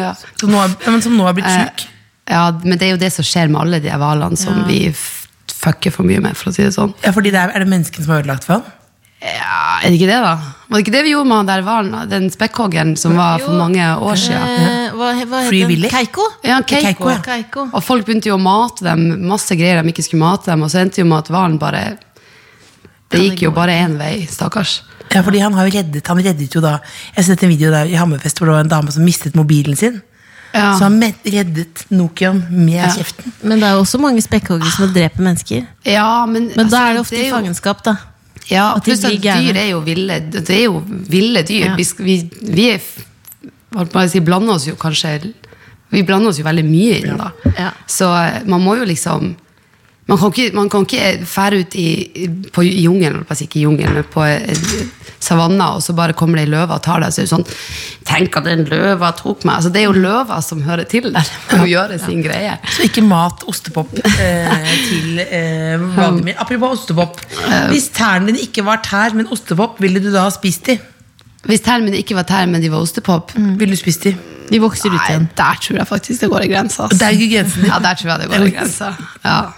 Speaker 4: ja.
Speaker 2: som nå, har- ja, men som nå har blitt syk.
Speaker 4: Eh, ja, men det er jo det som skjer med alle de hvalene som vi f- fucker for mye med, for å si det sånn.
Speaker 2: Ja, fordi det er, er det menneskene som har ødelagt for han?
Speaker 4: Ja, er det ikke det, da? Var det ikke det vi gjorde med han der hvalen? da? Den spekkhoggeren som var for
Speaker 3: Jo.
Speaker 4: mange år siden?
Speaker 3: Eh, hva, hva
Speaker 2: Free
Speaker 3: heter
Speaker 2: Willy?
Speaker 3: den? Keiko?
Speaker 4: Ja, Keiko.
Speaker 2: Keiko, ja.
Speaker 3: Keiko.
Speaker 4: Og folk begynte jo å mate dem, masse greier de ikke skulle mate dem, og så endte jo med at hvalen bare Det gikk jo bare én vei, stakkars.
Speaker 2: Ja, fordi han har jo reddet, han reddet jo da Jeg har sett en video der i Hammerfest hvor det var en dame som mistet mobilen sin.
Speaker 4: Ja.
Speaker 2: Så han med- reddet Nokian med
Speaker 4: Ja.
Speaker 2: kjeften.
Speaker 3: Men det er jo også mange spekkhoggere som dreper mennesker.
Speaker 4: Ja, men
Speaker 3: Men da
Speaker 4: altså,
Speaker 3: er det ofte i
Speaker 4: jo-
Speaker 3: fangenskap, da.
Speaker 4: Ja,
Speaker 3: At de
Speaker 4: pluss at
Speaker 3: blir gærne.
Speaker 4: dyr er jo ville. Det er jo ville dyr.
Speaker 3: Ja.
Speaker 4: Vi, sk- vi, vi er f- holdt på å si, blander oss jo kanskje Vi blander oss jo veldig mye inn, da.
Speaker 3: Ja.
Speaker 4: Så eh, man må jo liksom Man kan ikke, man kan ikke fære ut i, i- på jungelen, holdt på å si, ikke jungelen, men på eh, savanna, og så bare kommer det ei løve og tar deg. Så er det sånn Tenk at den løva tok meg. Altså, det
Speaker 3: Mm.
Speaker 4: er jo løva som hører til der. Hun gjør sin greie.
Speaker 2: Så ikke mat ostepop eh, til eh, Vladimir. Apropos ostepop. Hvis tærne dine ikke var tær, men ostepop, ville du da ha spist de?
Speaker 4: Hvis termene ikke var termen, de var ostepop,
Speaker 3: Mm.
Speaker 2: Ville du spist de?
Speaker 3: De vokser ut igjen.
Speaker 4: Nei, der tror jeg faktisk det går i grensa. ass.
Speaker 2: Det er ikke grensen din.
Speaker 4: Ja, der tror jeg det går i grensa. Ja.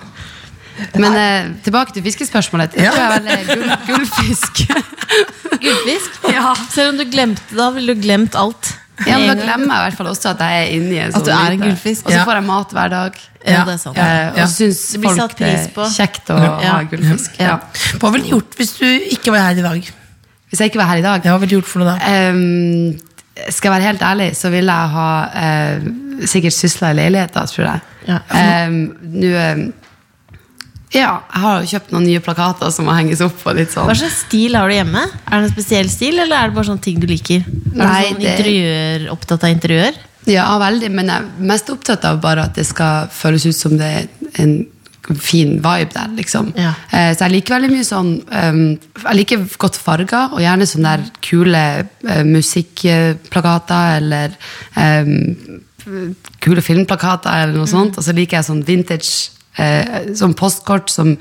Speaker 4: Men eh, tilbake til fiskespørsmålet. Jeg tror jeg velger gull, gullfisk.
Speaker 3: Gullfisk? Selv om du glemte da, ville du glemt alt.
Speaker 4: Ja, men Da
Speaker 3: En gang.
Speaker 4: glemmer jeg i hvert fall også at jeg er inni en
Speaker 3: At
Speaker 4: sånn
Speaker 3: du er en
Speaker 4: myte.
Speaker 3: gullfisk.
Speaker 4: Og så
Speaker 2: Ja.
Speaker 4: får jeg mat hver dag.
Speaker 3: Ja, det er sant.
Speaker 4: Eh, og
Speaker 2: Ja.
Speaker 4: syns
Speaker 3: Det blir
Speaker 4: folk det
Speaker 3: satt pris
Speaker 4: er
Speaker 3: på.
Speaker 4: kjekt å
Speaker 3: Ja.
Speaker 4: ha gullfisk. Ja.
Speaker 2: Hva ville du gjort hvis du ikke var her i dag?
Speaker 4: Hvis jeg ikke var her i dag
Speaker 2: Ja, hva ville du gjort for noe da?
Speaker 4: ehm, Skal jeg være helt ærlig, så ville jeg ha eh, sikkert sysla i leiligheter, tror jeg.
Speaker 3: Ja.
Speaker 4: Ehm, Nå ehm, Ja, jeg har jo kjøpt noen nye plakater som må henges opp. og litt sånn
Speaker 3: Hva slags stil har du hjemme? Er det en spesiell stil, eller er det bare sånne ting du liker? Er
Speaker 4: Nei,
Speaker 3: du sånn
Speaker 4: det-
Speaker 3: interiør, opptatt av interiør?
Speaker 4: Ja, veldig, men jeg er mest opptatt av bare at det skal føles ut som det er en fin vibe der, liksom.
Speaker 3: Ja.
Speaker 4: Eh, Så jeg liker veldig mye sånn ehm, Jeg liker godt farger, og gjerne sånne der kule eh, musikkplakater eller ehm, kule filmplakater eller noe sånt. Og så liker jeg sånn vintage, eh, sånn postkort, som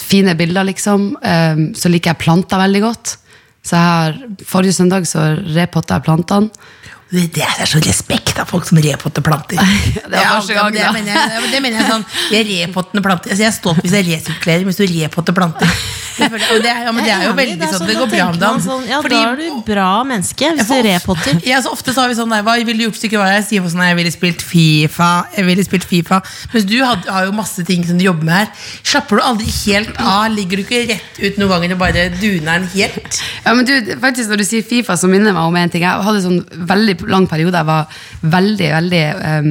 Speaker 4: fine bilder, liksom. Ehm, så liker jeg planter veldig godt. Så jeg har, Forrige søndag så repotta jeg plantene.
Speaker 2: Det, det er så respekt av folk som repotter planter.
Speaker 4: det var første gang,
Speaker 2: det,
Speaker 4: da.
Speaker 2: mener jeg, det mener jeg sånn. Jeg repottende planter. Altså, jeg er stolt hvis jeg resirkulerer, hvis du repotter planter. Det, føler jeg- og det, er- ja, men det er jo
Speaker 3: Jeg enig,
Speaker 2: veldig sånn, det
Speaker 3: da
Speaker 2: går bra
Speaker 3: tenker
Speaker 2: om
Speaker 3: man
Speaker 2: dagen.
Speaker 3: Sånn, ja,
Speaker 2: Fordi-
Speaker 3: da er du bra menneske,
Speaker 2: Jeg
Speaker 3: hvis du
Speaker 2: får-
Speaker 3: repotter.
Speaker 2: Ja, så ofte så har vi sånn, nei, hva ville du gjort hvis du ikke var her? Jeg sier folk sånn, nei, jeg ville spilt FIFA, jeg ville spilt FIFA. Mens du har, har jo masse ting som du jobber med her. Slapper du aldri helt av? Ligger du ikke rett ut noen ganger og bare duner den helt?
Speaker 4: Ja, men du, faktisk Når du sier Fifa, så minner det meg om en ting. Jeg hadde sånn veldig lang periode jeg var veldig veldig um,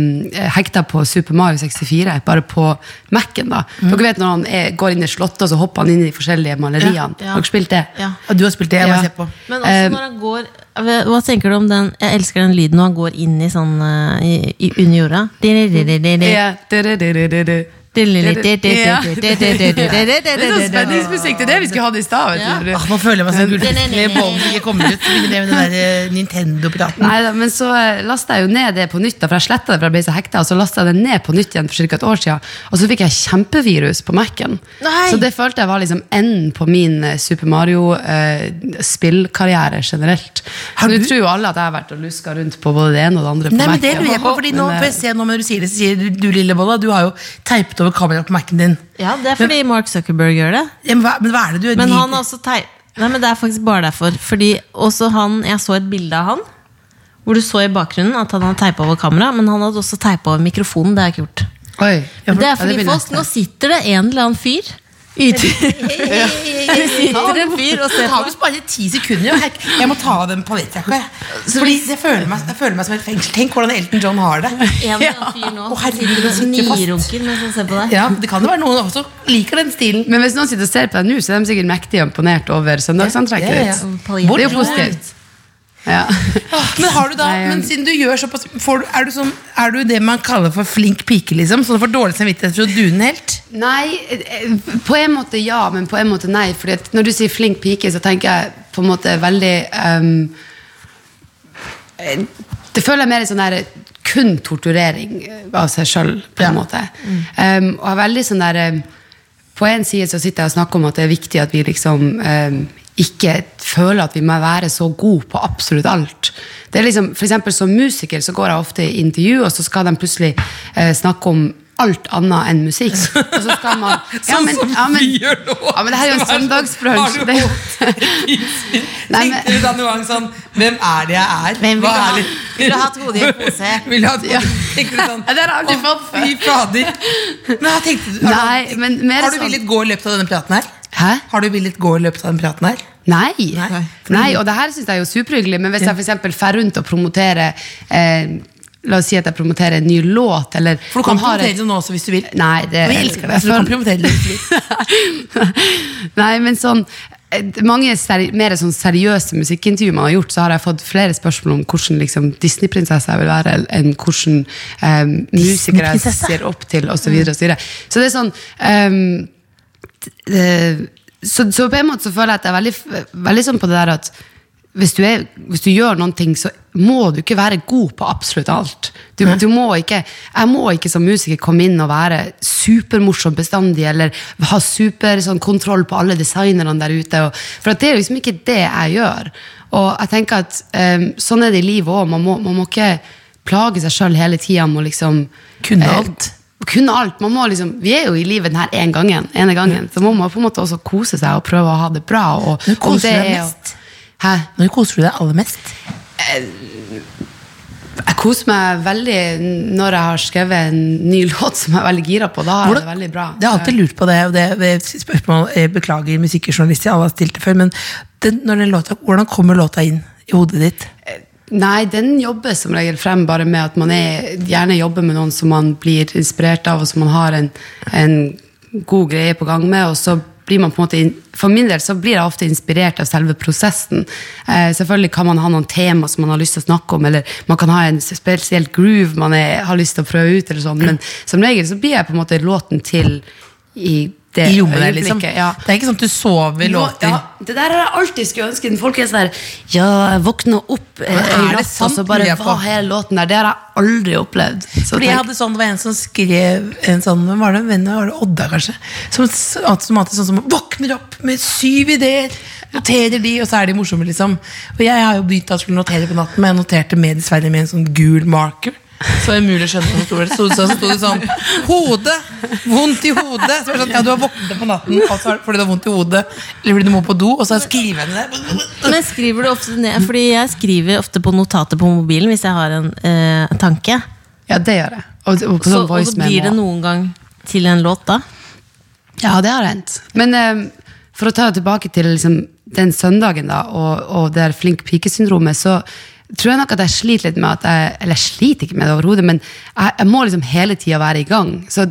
Speaker 4: hekta på Super Mario 64, bare på Mac-en. da. Dere vet når han er, går inn i slottet, og så hopper han inn i de forskjellige maleriene.
Speaker 3: Ja, ja.
Speaker 4: Dere spilt det?
Speaker 3: Ja.
Speaker 2: Og du har spilt det, jeg må
Speaker 4: Ja.
Speaker 2: se på.
Speaker 3: Men også
Speaker 4: Eh,
Speaker 3: når han går Hva tenker du om den Jeg elsker den lyden når han går inn i sånn eh, i, i, under jorda.
Speaker 4: Ja. Det er sånn spenningsmusikk. Det er det vi skulle hatt i stad. vet du.
Speaker 2: Åh, nå føler jeg meg som gullfisk med bollen ikke kommer ut. Så begynner jeg med den der eh, Nintendo-piraten.
Speaker 4: Nei, da, men så eh, lastet jeg jo ned det på nytt, da, for jeg sletta det, for jeg ble så hekta. Og så lastet jeg det ned på nytt igjen for cirka et år siden, og så fikk jeg kjempevirus på Mac-en.
Speaker 3: Nei!
Speaker 4: Så det følte jeg var liksom enden på min eh, Super Mario-spillkarriere generelt.
Speaker 2: Har
Speaker 4: Nå
Speaker 2: du-
Speaker 4: tror jo alle at jeg har vært og luska rundt på både det ene og det andre på
Speaker 2: Nei, men det
Speaker 4: Mac-en.
Speaker 2: lurer jeg på, fordi nå,
Speaker 4: Men, eh,
Speaker 2: for jeg ser nå når du sier det, så sier du, du lille bolla, du har jo teipet over kameraet på Mac-en din.
Speaker 3: Ja, det er fordi Mark Zuckerberg gjør det.
Speaker 2: Ja, men, hva, men hva er det du
Speaker 3: Men
Speaker 2: de-
Speaker 3: han har også tei- Nei, men det er faktisk bare derfor. Fordi også han, Jeg så et bilde av han hvor du så i bakgrunnen at han hadde teipa over kamera, men han hadde også teipa over mikrofonen. Det har jeg ikke gjort.
Speaker 4: eh, Oi.
Speaker 3: Men det er
Speaker 4: Ja,
Speaker 3: fordi
Speaker 4: blir
Speaker 3: folk,
Speaker 4: nesten.
Speaker 3: Nå sitter det en eller annen fyr ute Det sitter en fyr
Speaker 2: Det
Speaker 3: og ser på.
Speaker 2: tar visst bare ti sekunder. jo. Jeg, jeg må ta av den paljettjakka. jeg. Fordi jeg føler, meg, jeg føler meg som et fengsel. Tenk hvordan Elton John har det.
Speaker 3: En eller annen fyr nå
Speaker 2: Å,
Speaker 3: som
Speaker 2: herregud, han
Speaker 3: sitter og
Speaker 2: sitter fast.
Speaker 3: nirunker mens han ser på deg.
Speaker 2: Ja, det kan jo være noen også liker den stilen.
Speaker 4: Men hvis noen sitter og ser på deg nå, så er de sikkert mektige og imponert over søndagsantrekket
Speaker 2: Ja, ja, ja.
Speaker 4: ditt.
Speaker 3: Paljetter.
Speaker 4: Det er jo positivt. Ja.
Speaker 2: Men, har du da,
Speaker 4: Nei,
Speaker 2: men
Speaker 4: um,
Speaker 2: siden du gjør såpass får du, er, du sånn, er du det man kaller for flink pike, liksom? Så du får dårlig samvittighet for å dune helt?
Speaker 4: Nei, eh, på en måte ja, men på en måte nei. Fordi at når du sier flink pike, så tenker jeg på en måte veldig ehm, eh, Det føler jeg mer sånn der kun torturering eh, av seg sjøl, på en
Speaker 2: Ja.
Speaker 4: måte. Ehm, og jeg er veldig sånn der eh, På en side så sitter jeg og snakker om at det er viktig at vi liksom ehm, ikke føler at vi må være så gode på absolutt alt. Det er liksom, for eksempel Som musiker så går jeg ofte i intervju, og så skal de plutselig eh, snakke om alt annet enn musikk. Og så skal man
Speaker 2: Sånn
Speaker 4: ja, men, ja, men, Ja, men det her er jo en søndagsbrunsj. Det er jo- Nei, men-
Speaker 2: Tenkte du da noen gang sånn Hvem er det jeg er?
Speaker 3: Hvem vil
Speaker 2: Hva
Speaker 3: du ha?
Speaker 2: er det?
Speaker 3: Vil du ha et hode i en pose?
Speaker 2: Vil du ha et hode? Tenkte du sånn
Speaker 4: Ja, det har jeg aldri
Speaker 2: «Å,
Speaker 4: fått før.»
Speaker 2: Fy fader. Nei, tenkte du, har,
Speaker 4: Nei,
Speaker 2: du,
Speaker 4: men mer
Speaker 2: har du
Speaker 4: sånn-
Speaker 2: villet gå i løpet av denne praten her?
Speaker 4: Hæ?
Speaker 2: Har du villet gå i løpet av denne praten her?
Speaker 4: Nei.
Speaker 2: Nei.
Speaker 4: Nei. og det her syns jeg er jo superhyggelig, men hvis jeg for eksempel drar rundt og promoterer eh, La oss si at jeg promoterer en ny låt, eller
Speaker 2: For du kan
Speaker 4: man har et-
Speaker 2: promotere det nå også, hvis du vil.
Speaker 4: Nei, det
Speaker 2: Vi elsker deg, så du kan promotere det. hvis du vil.
Speaker 4: Nei, men sånn eh, mange seri mer sånn seriøse musikkintervju man har gjort, så har jeg fått flere spørsmål om hvordan liksom, Disney-prinsesse jeg vil være, el- enn hvordan um, musikere jeg
Speaker 2: Disney-prinsesse?
Speaker 4: ser opp til, osv. Så, videre, og så, videre. så det er sånn ehm, t- eh, så, så på en måte så føler jeg at jeg er veldig, f- veldig sånn på det der at hvis du, er, hvis du gjør noen ting, så må du ikke være god på absolutt alt. Du, du må ikke, jeg må ikke som musiker komme inn og være supermorsom bestandig, eller ha super sånn, kontroll på alle designerne der ute. Og, for at det er liksom ikke det jeg gjør. Og jeg tenker at eh, sånn er det i livet òg. Man, må- man må ikke plage seg sjøl hele tida med å liksom
Speaker 2: Kunne
Speaker 4: eh,
Speaker 2: alt.
Speaker 4: kunne alt. Man må liksom, vi er jo i livet denne en gangen, ene gangen, så må man på en måte også kose seg og prøve å ha det bra. Og,
Speaker 2: Men koser
Speaker 4: om det
Speaker 2: du deg
Speaker 4: er å-
Speaker 2: mest?
Speaker 4: Hæ?
Speaker 2: Når koser du deg aller mest?
Speaker 4: Jeg koser meg veldig når jeg har skrevet en ny låt som jeg er veldig gira på. Da er det
Speaker 2: Hvordan-
Speaker 4: veldig bra.
Speaker 2: Jeg har alltid lurt på det, og det, det er et spørsmål jeg beklager musikkjournalister alle har stilt det før, men den, når den låta, hvordan kommer låta inn i hodet ditt?
Speaker 4: Nei, den jobber som regel frem bare med at man er, gjerne jobber med noen som man blir inspirert av, og som man har en, en god greie på gang med. og så blir man på en måte, in- For min del så blir jeg ofte inspirert av selve prosessen. Eh, selvfølgelig kan man ha noen tema som man har lyst til å snakke om, eller man kan ha en spesiell groove man er, har lyst til å prøve ut, eller sånn, men som regel så blir jeg på en måte låten til i det
Speaker 2: I rommet der, liksom?
Speaker 4: Eh, øyeblikket, Ja.
Speaker 2: Det er ikke sånn at du sover
Speaker 4: Nå-
Speaker 2: låter?
Speaker 4: Ja, det der har jeg alltid skulle ønske. Folk er sånn der Ja, jeg våkna opp eh,
Speaker 2: Men er
Speaker 4: i
Speaker 2: det
Speaker 4: natt, og
Speaker 2: sant,
Speaker 4: så
Speaker 2: lurer
Speaker 4: bare
Speaker 2: jeg på?
Speaker 4: Hva er låten der? Det har jeg aldri opplevd. Så
Speaker 2: Fordi jeg
Speaker 4: tenk-
Speaker 2: hadde sånn, Det var en som skrev en sånn, hvem var det, en venn, var det Odda, kanskje? Som, s- at- som alltid sånn som våkner opp med syv ideer, noterer de, og så er de morsomme, liksom. Og jeg har jo begynt at jeg skulle notere på natten, men jeg noterte med dessverre med en sånn gul marker. Så umulig å skjønne hva som sto der. Så, så, så sto det sånn Hode! Vondt i hodet! Så var det sånn, ja, du har våknet på natten altså, er det fordi du har vondt i hodet, eller fordi du må på do, og så skriver jeg ned det.
Speaker 3: Men skriver du ofte ned Fordi jeg skriver ofte på notater på mobilen hvis jeg har en eh, tanke.
Speaker 4: ja, det gjør jeg. Og, og på
Speaker 3: Så,
Speaker 4: sånn
Speaker 3: og så
Speaker 4: voice
Speaker 3: blir det
Speaker 4: memo.
Speaker 3: noen gang til en låt da.
Speaker 4: Ja, det har hendt. Men eh, for å ta det tilbake til liksom, den søndagen da, og, og det her flink pike-syndromet, så tror jeg nok at jeg sliter litt med at jeg Eller jeg sliter ikke med det overhodet, men jeg, jeg må liksom hele tida være i gang. Så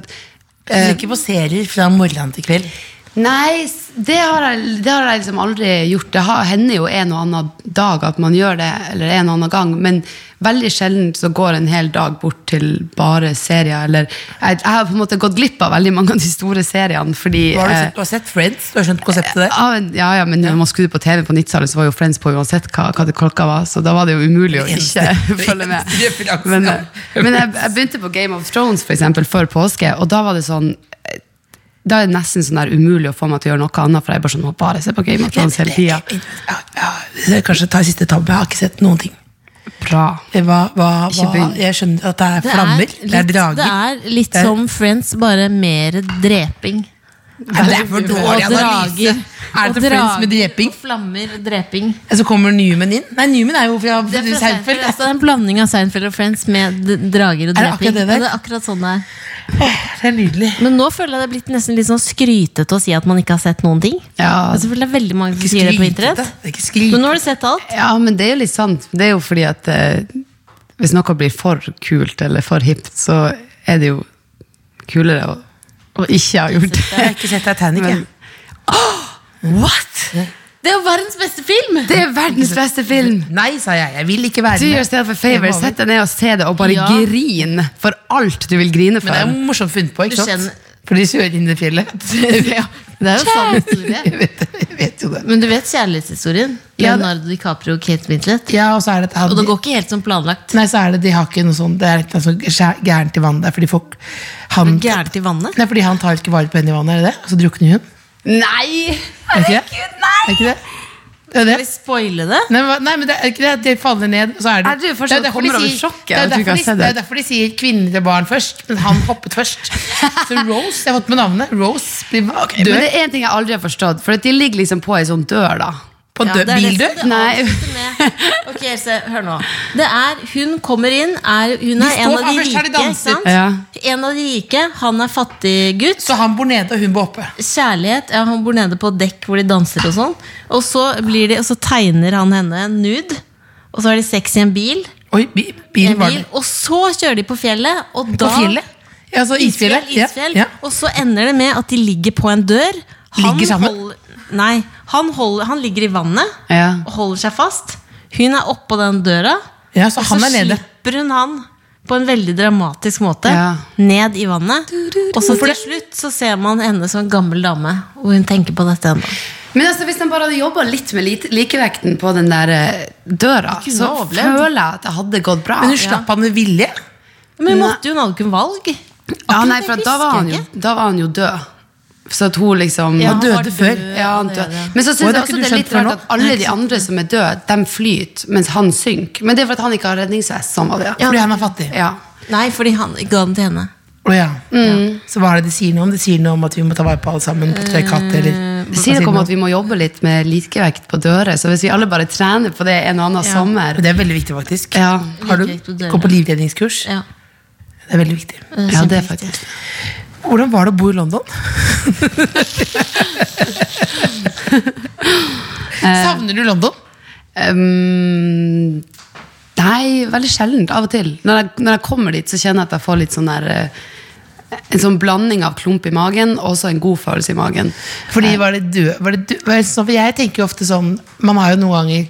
Speaker 2: Eh, Du ikke på serier fra morgenen til kveld.
Speaker 4: Nei, s- det har, jeg, det har jeg liksom aldri gjort. Det har- hender jo en og annen dag at man gjør det, eller en og annen gang, men veldig sjelden så går en hel dag bort til bare serier. Eller, jeg, jeg har på en måte gått glipp av veldig mange av de store seriene, fordi
Speaker 2: Hva har du,
Speaker 4: eh,
Speaker 2: sett? du har sett Friends? Du har skjønt konseptet der?
Speaker 4: ja, men- ja, ja, men når man skrudde på TV på 90-tallet, så var jo Friends på uansett hva, hva det klokka var, så da var det jo umulig å
Speaker 2: Eneste-
Speaker 4: ikke følge med.
Speaker 2: referanse,
Speaker 4: Men,
Speaker 2: ja.
Speaker 4: eh, men jeg, jeg begynte på Game of Thrones for eksempel før påske, og da var det sånn eh, da er det nesten sånn der umulig å få meg til å gjøre noe annet, for jeg er bare sånn, må bare se på Game of Thrones hele tida.
Speaker 2: Ja, ja, jeg kanskje ta siste tabbe. Jeg har ikke sett noen ting.
Speaker 4: Bra.
Speaker 2: Hva, hva,
Speaker 4: Ikke
Speaker 2: hva?
Speaker 4: begynn.
Speaker 2: Jeg skjønner at det er flammer. Det er,
Speaker 3: litt,
Speaker 2: drager. Eh.
Speaker 3: det er litt som Friends, bare mer dreping.
Speaker 2: Nei, det er for dårlig
Speaker 3: Og
Speaker 2: analyse.
Speaker 3: drager.
Speaker 2: Er
Speaker 3: Og
Speaker 2: det Friends med
Speaker 3: drager
Speaker 2: dreping?
Speaker 3: og Flammer, dreping.
Speaker 2: Ja, Så kommer Newman inn. Nei, Newman er jo fra
Speaker 3: Det er, fra Seinfeld,
Speaker 2: Seinfeld.
Speaker 3: altså, det er en blanding av Seinfeld og Friends med d- drager og
Speaker 2: Er det
Speaker 3: dreping.
Speaker 2: akkurat det der?
Speaker 3: Ja, det er akkurat sånn det er.
Speaker 2: Det er nydelig.
Speaker 3: Men nå føler jeg det er blitt nesten litt sånn skrytete å si at man ikke har sett noen ting.
Speaker 4: Ja.
Speaker 3: Altså, for det er veldig mange som
Speaker 2: Ikke
Speaker 3: sier det på
Speaker 2: skrytete.
Speaker 3: internett.
Speaker 2: Det er ikke
Speaker 3: Men
Speaker 2: skrytete.
Speaker 3: nå har du sett alt.
Speaker 4: Ja, men det er jo litt sant. Det er jo fordi at eh, hvis noe blir for kult eller for hipt, så er det jo kulere å, å ikke ha gjort det.
Speaker 2: Jeg har ikke sett Titanic, jeg.
Speaker 4: Men- What?!
Speaker 3: Det er jo verdens beste film!
Speaker 4: Det er verdens beste film!
Speaker 2: Mm. Nei, sa jeg. Jeg vil ikke være
Speaker 4: Do
Speaker 2: med.
Speaker 4: yourself a favor, sett deg ned og se det, og bare
Speaker 3: Ja.
Speaker 4: grin for alt du vil grine
Speaker 2: Men det er
Speaker 4: for.
Speaker 2: jo morsomt funnet på, ikke
Speaker 3: Du
Speaker 2: sant?
Speaker 3: kjenner-
Speaker 2: For de kjører inn i fjellet. Ja,
Speaker 3: Det er jo sann historie.
Speaker 2: jeg vet, jeg vet jo det.
Speaker 3: Men du vet kjærlighetshistorien?
Speaker 2: Ja, det-
Speaker 3: Leonardo DiCaprio og Kate Winslet.
Speaker 2: Ja, og så er det,
Speaker 3: Og det går ikke helt som planlagt.
Speaker 2: Nei, så er det, de har ikke noe sånn Det er ikke noe sånn skjæ- gærent i vannet. Det er fordi folk han,
Speaker 3: Gærent i vannet.
Speaker 2: Nei, fordi han tar ikke vare på henne i vannet, er det det? Og så drukner hun?
Speaker 4: Nei!
Speaker 2: Er det ikke det? Er det ikke det? Det er det.
Speaker 3: Skal vi spoile det?
Speaker 2: Nei, men- nei, men det er ikke det at de faller ned, og så er det
Speaker 4: Er det jo fortsatt
Speaker 2: er derfor
Speaker 4: kommer
Speaker 2: de
Speaker 4: over
Speaker 2: sier-
Speaker 4: sjokket,
Speaker 2: det er
Speaker 4: at du ikke
Speaker 2: derfor
Speaker 4: har
Speaker 2: de-
Speaker 4: sett det.
Speaker 2: det er derfor de sier kvinner og barn først, men han hoppet først. Så Rose, jeg har fått med navnet, Rose blir
Speaker 4: Men
Speaker 2: dør
Speaker 4: det er én ting jeg aldri har forstått, for at de ligger liksom på ei sånn dør, da.
Speaker 2: på
Speaker 3: Ja,
Speaker 2: død,
Speaker 3: det er det
Speaker 2: bildør.
Speaker 3: som det
Speaker 4: Nei.
Speaker 3: avslutter med. Ok, Else, hør nå. Det er, hun kommer inn, er, hun er en
Speaker 2: står-
Speaker 3: av
Speaker 2: ja,
Speaker 3: de
Speaker 2: først
Speaker 3: rike.
Speaker 2: har de
Speaker 3: ikke
Speaker 2: danser.
Speaker 3: sant? En av de rike, han er fattig gutt.
Speaker 2: Så han bor nede, og hun bor oppe.
Speaker 3: Kjærlighet, ja, han bor nede på dekk hvor de danser og sånn. Og så, blir de, og så tegner han henne nude. Og så har de sex i en bil.
Speaker 2: Oi, bi-
Speaker 3: i
Speaker 2: bilen
Speaker 3: En
Speaker 2: var
Speaker 3: bil
Speaker 2: det.
Speaker 3: og så kjører de på fjellet, og da
Speaker 2: På fjellet? Ja, så isfjellet. Ja,
Speaker 3: Isfjell.
Speaker 2: ja.
Speaker 3: Og så ender det med at de ligger på en dør.
Speaker 2: Ligger sammen?
Speaker 3: Hold, nei, han, hold, han ligger i vannet
Speaker 4: Ja.
Speaker 3: og holder seg fast. Hun er oppå den døra,
Speaker 2: Ja, så
Speaker 3: og
Speaker 2: han
Speaker 3: så
Speaker 2: er nede.
Speaker 3: slipper hun han på en veldig dramatisk måte
Speaker 4: Ja.
Speaker 3: ned i vannet. Og så til slutt så ser man henne som en gammel dame, og hun tenker på dette ennå.
Speaker 4: Men altså, hvis de bare hadde jobba litt med lite- likevekten på den der eh, døra,
Speaker 2: kunne
Speaker 4: så
Speaker 2: ha overlevd.
Speaker 4: føler jeg at det hadde gått bra.
Speaker 2: Men hun slapp han med vilje.
Speaker 3: Men hun
Speaker 4: Nei.
Speaker 3: måtte jo, hun hadde ikke valg.
Speaker 4: ja,
Speaker 3: Akkurat
Speaker 4: nei,
Speaker 3: det
Speaker 4: for at da var,
Speaker 3: husker
Speaker 4: han jo,
Speaker 3: jeg ikke.
Speaker 4: da var han jo død. Så at hun liksom
Speaker 2: Han
Speaker 3: han var
Speaker 2: døde
Speaker 3: død.
Speaker 2: før.
Speaker 4: Ja, han døde. Men så
Speaker 2: Oi,
Speaker 4: syns
Speaker 2: det
Speaker 4: jeg
Speaker 2: har ikke du
Speaker 4: også det er litt
Speaker 2: skjønt før nå.
Speaker 4: rart at alle de andre som er døde, de flyter, mens han synker. Men det er for at han ikke har redningsvest. Sånn var det.
Speaker 2: Fordi han er fattig.
Speaker 4: Ja. Mm.
Speaker 3: Nei, fordi han ga den til henne.
Speaker 2: Å ja. Så hva er det de sier noe om? De sier noe om at vi må ta vare på alle sammen. På tre katter, eller
Speaker 4: Det Mm. sier noe om at vi må jobbe litt med likevekt på dører, så hvis vi alle bare trener på det en og annen sommer
Speaker 2: Men Det er veldig viktig, faktisk.
Speaker 4: ja.
Speaker 2: Har du
Speaker 3: Livrett og døra.
Speaker 2: gått på livredningskurs?
Speaker 3: Ja.
Speaker 2: Det er veldig viktig.
Speaker 4: ja, det er
Speaker 3: kjempeviktig.
Speaker 4: faktisk
Speaker 2: Hvordan var det å bo i London?
Speaker 4: Eh.
Speaker 2: Savner du London?
Speaker 4: um, Nei, veldig sjeldent. Av og til. Når jeg, når jeg kommer dit, så kjenner jeg at jeg får litt sånn der eh, En sånn blanding av klump i magen og også en god følelse i magen.
Speaker 2: Fordi var det død, var det død var det sånn, for Jeg tenker jo ofte sånn Man har jo noen ganger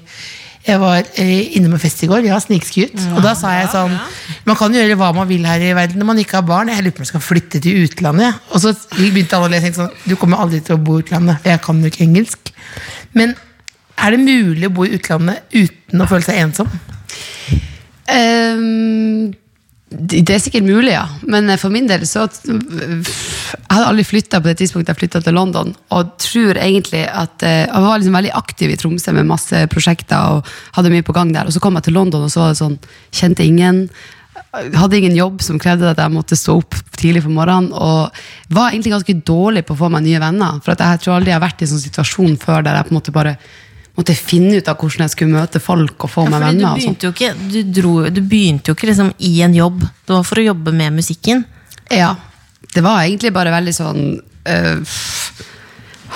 Speaker 2: Jeg var eh, inne med fest i går, vi har snikskutt. og da sa jeg sånn Man kan jo gjøre hva man vil her i verden når man ikke har barn. Jeg lurer på om jeg skal flytte til utlandet. jeg. Og så begynte alle å le og tenkte sånn Du kommer aldri til å bo i utlandet, for jeg kan jo ikke engelsk. Men er det mulig å bo i utlandet uten å føle seg ensom?
Speaker 4: Ehm, det det er sikkert mulig, ja. Men eh, for min del så Jeg hadde aldri flytta på det tidspunktet jeg flytta til London. Og tror egentlig at eh, Jeg var liksom veldig aktiv i Tromsø med masse prosjekter og hadde mye på gang der. Og så kom jeg til London, og så var det sånn Kjente ingen. Hadde ingen jobb som krevde at jeg måtte stå opp tidlig på morgenen. Og var egentlig ganske dårlig på å få meg nye venner. For at jeg tror aldri jeg har vært i en sånn situasjon før der jeg på en måte bare måtte finne ut av hvordan jeg skulle møte folk og få
Speaker 3: Ja,
Speaker 4: meg
Speaker 3: fordi du
Speaker 4: venner. og sånt.
Speaker 3: begynte jo ikke, du dro, du begynte jo ikke liksom i en jobb. Det var for å jobbe med musikken.
Speaker 4: Ja. Det var egentlig bare veldig sånn øh,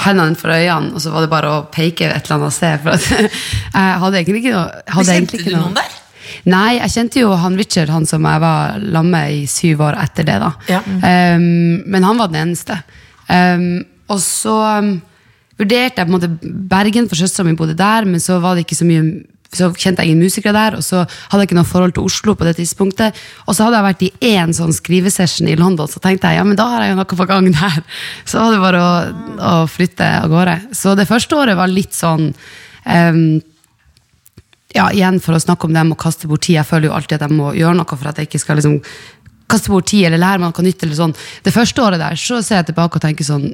Speaker 4: Hendene for øynene, og så var det bare å peke et eller annet sted. For at, jeg hadde egentlig ikke noe hadde
Speaker 2: Kjente
Speaker 4: egentlig ikke
Speaker 2: du
Speaker 4: noe-
Speaker 2: noen der?
Speaker 4: Nei, jeg kjente jo han Richard, han som jeg var lamme i syv år etter det. da Ehm,
Speaker 2: Ja.
Speaker 4: um, Men han var den eneste. Um, Og så um, vurderte jeg på en måte Bergen, for søstera mi bodde der, men så var det ikke så mye så kjente jeg ingen musikere der, og så hadde jeg ikke noe forhold til Oslo. på det tidspunktet, Og så hadde jeg vært i én sånn skrivesession i London, så tenkte jeg ja, men da har jeg jo noe på gang der. Så var det bare å, å flytte av gårde. Så det første året var litt sånn um, ja, igjen for å snakke om dem og kaste bort tid. Jeg føler jo alltid at jeg må gjøre noe for at jeg ikke skal liksom kaste bort tid eller lære meg noe nytt. eller sånn. Det første året der så ser jeg tilbake og tenker sånn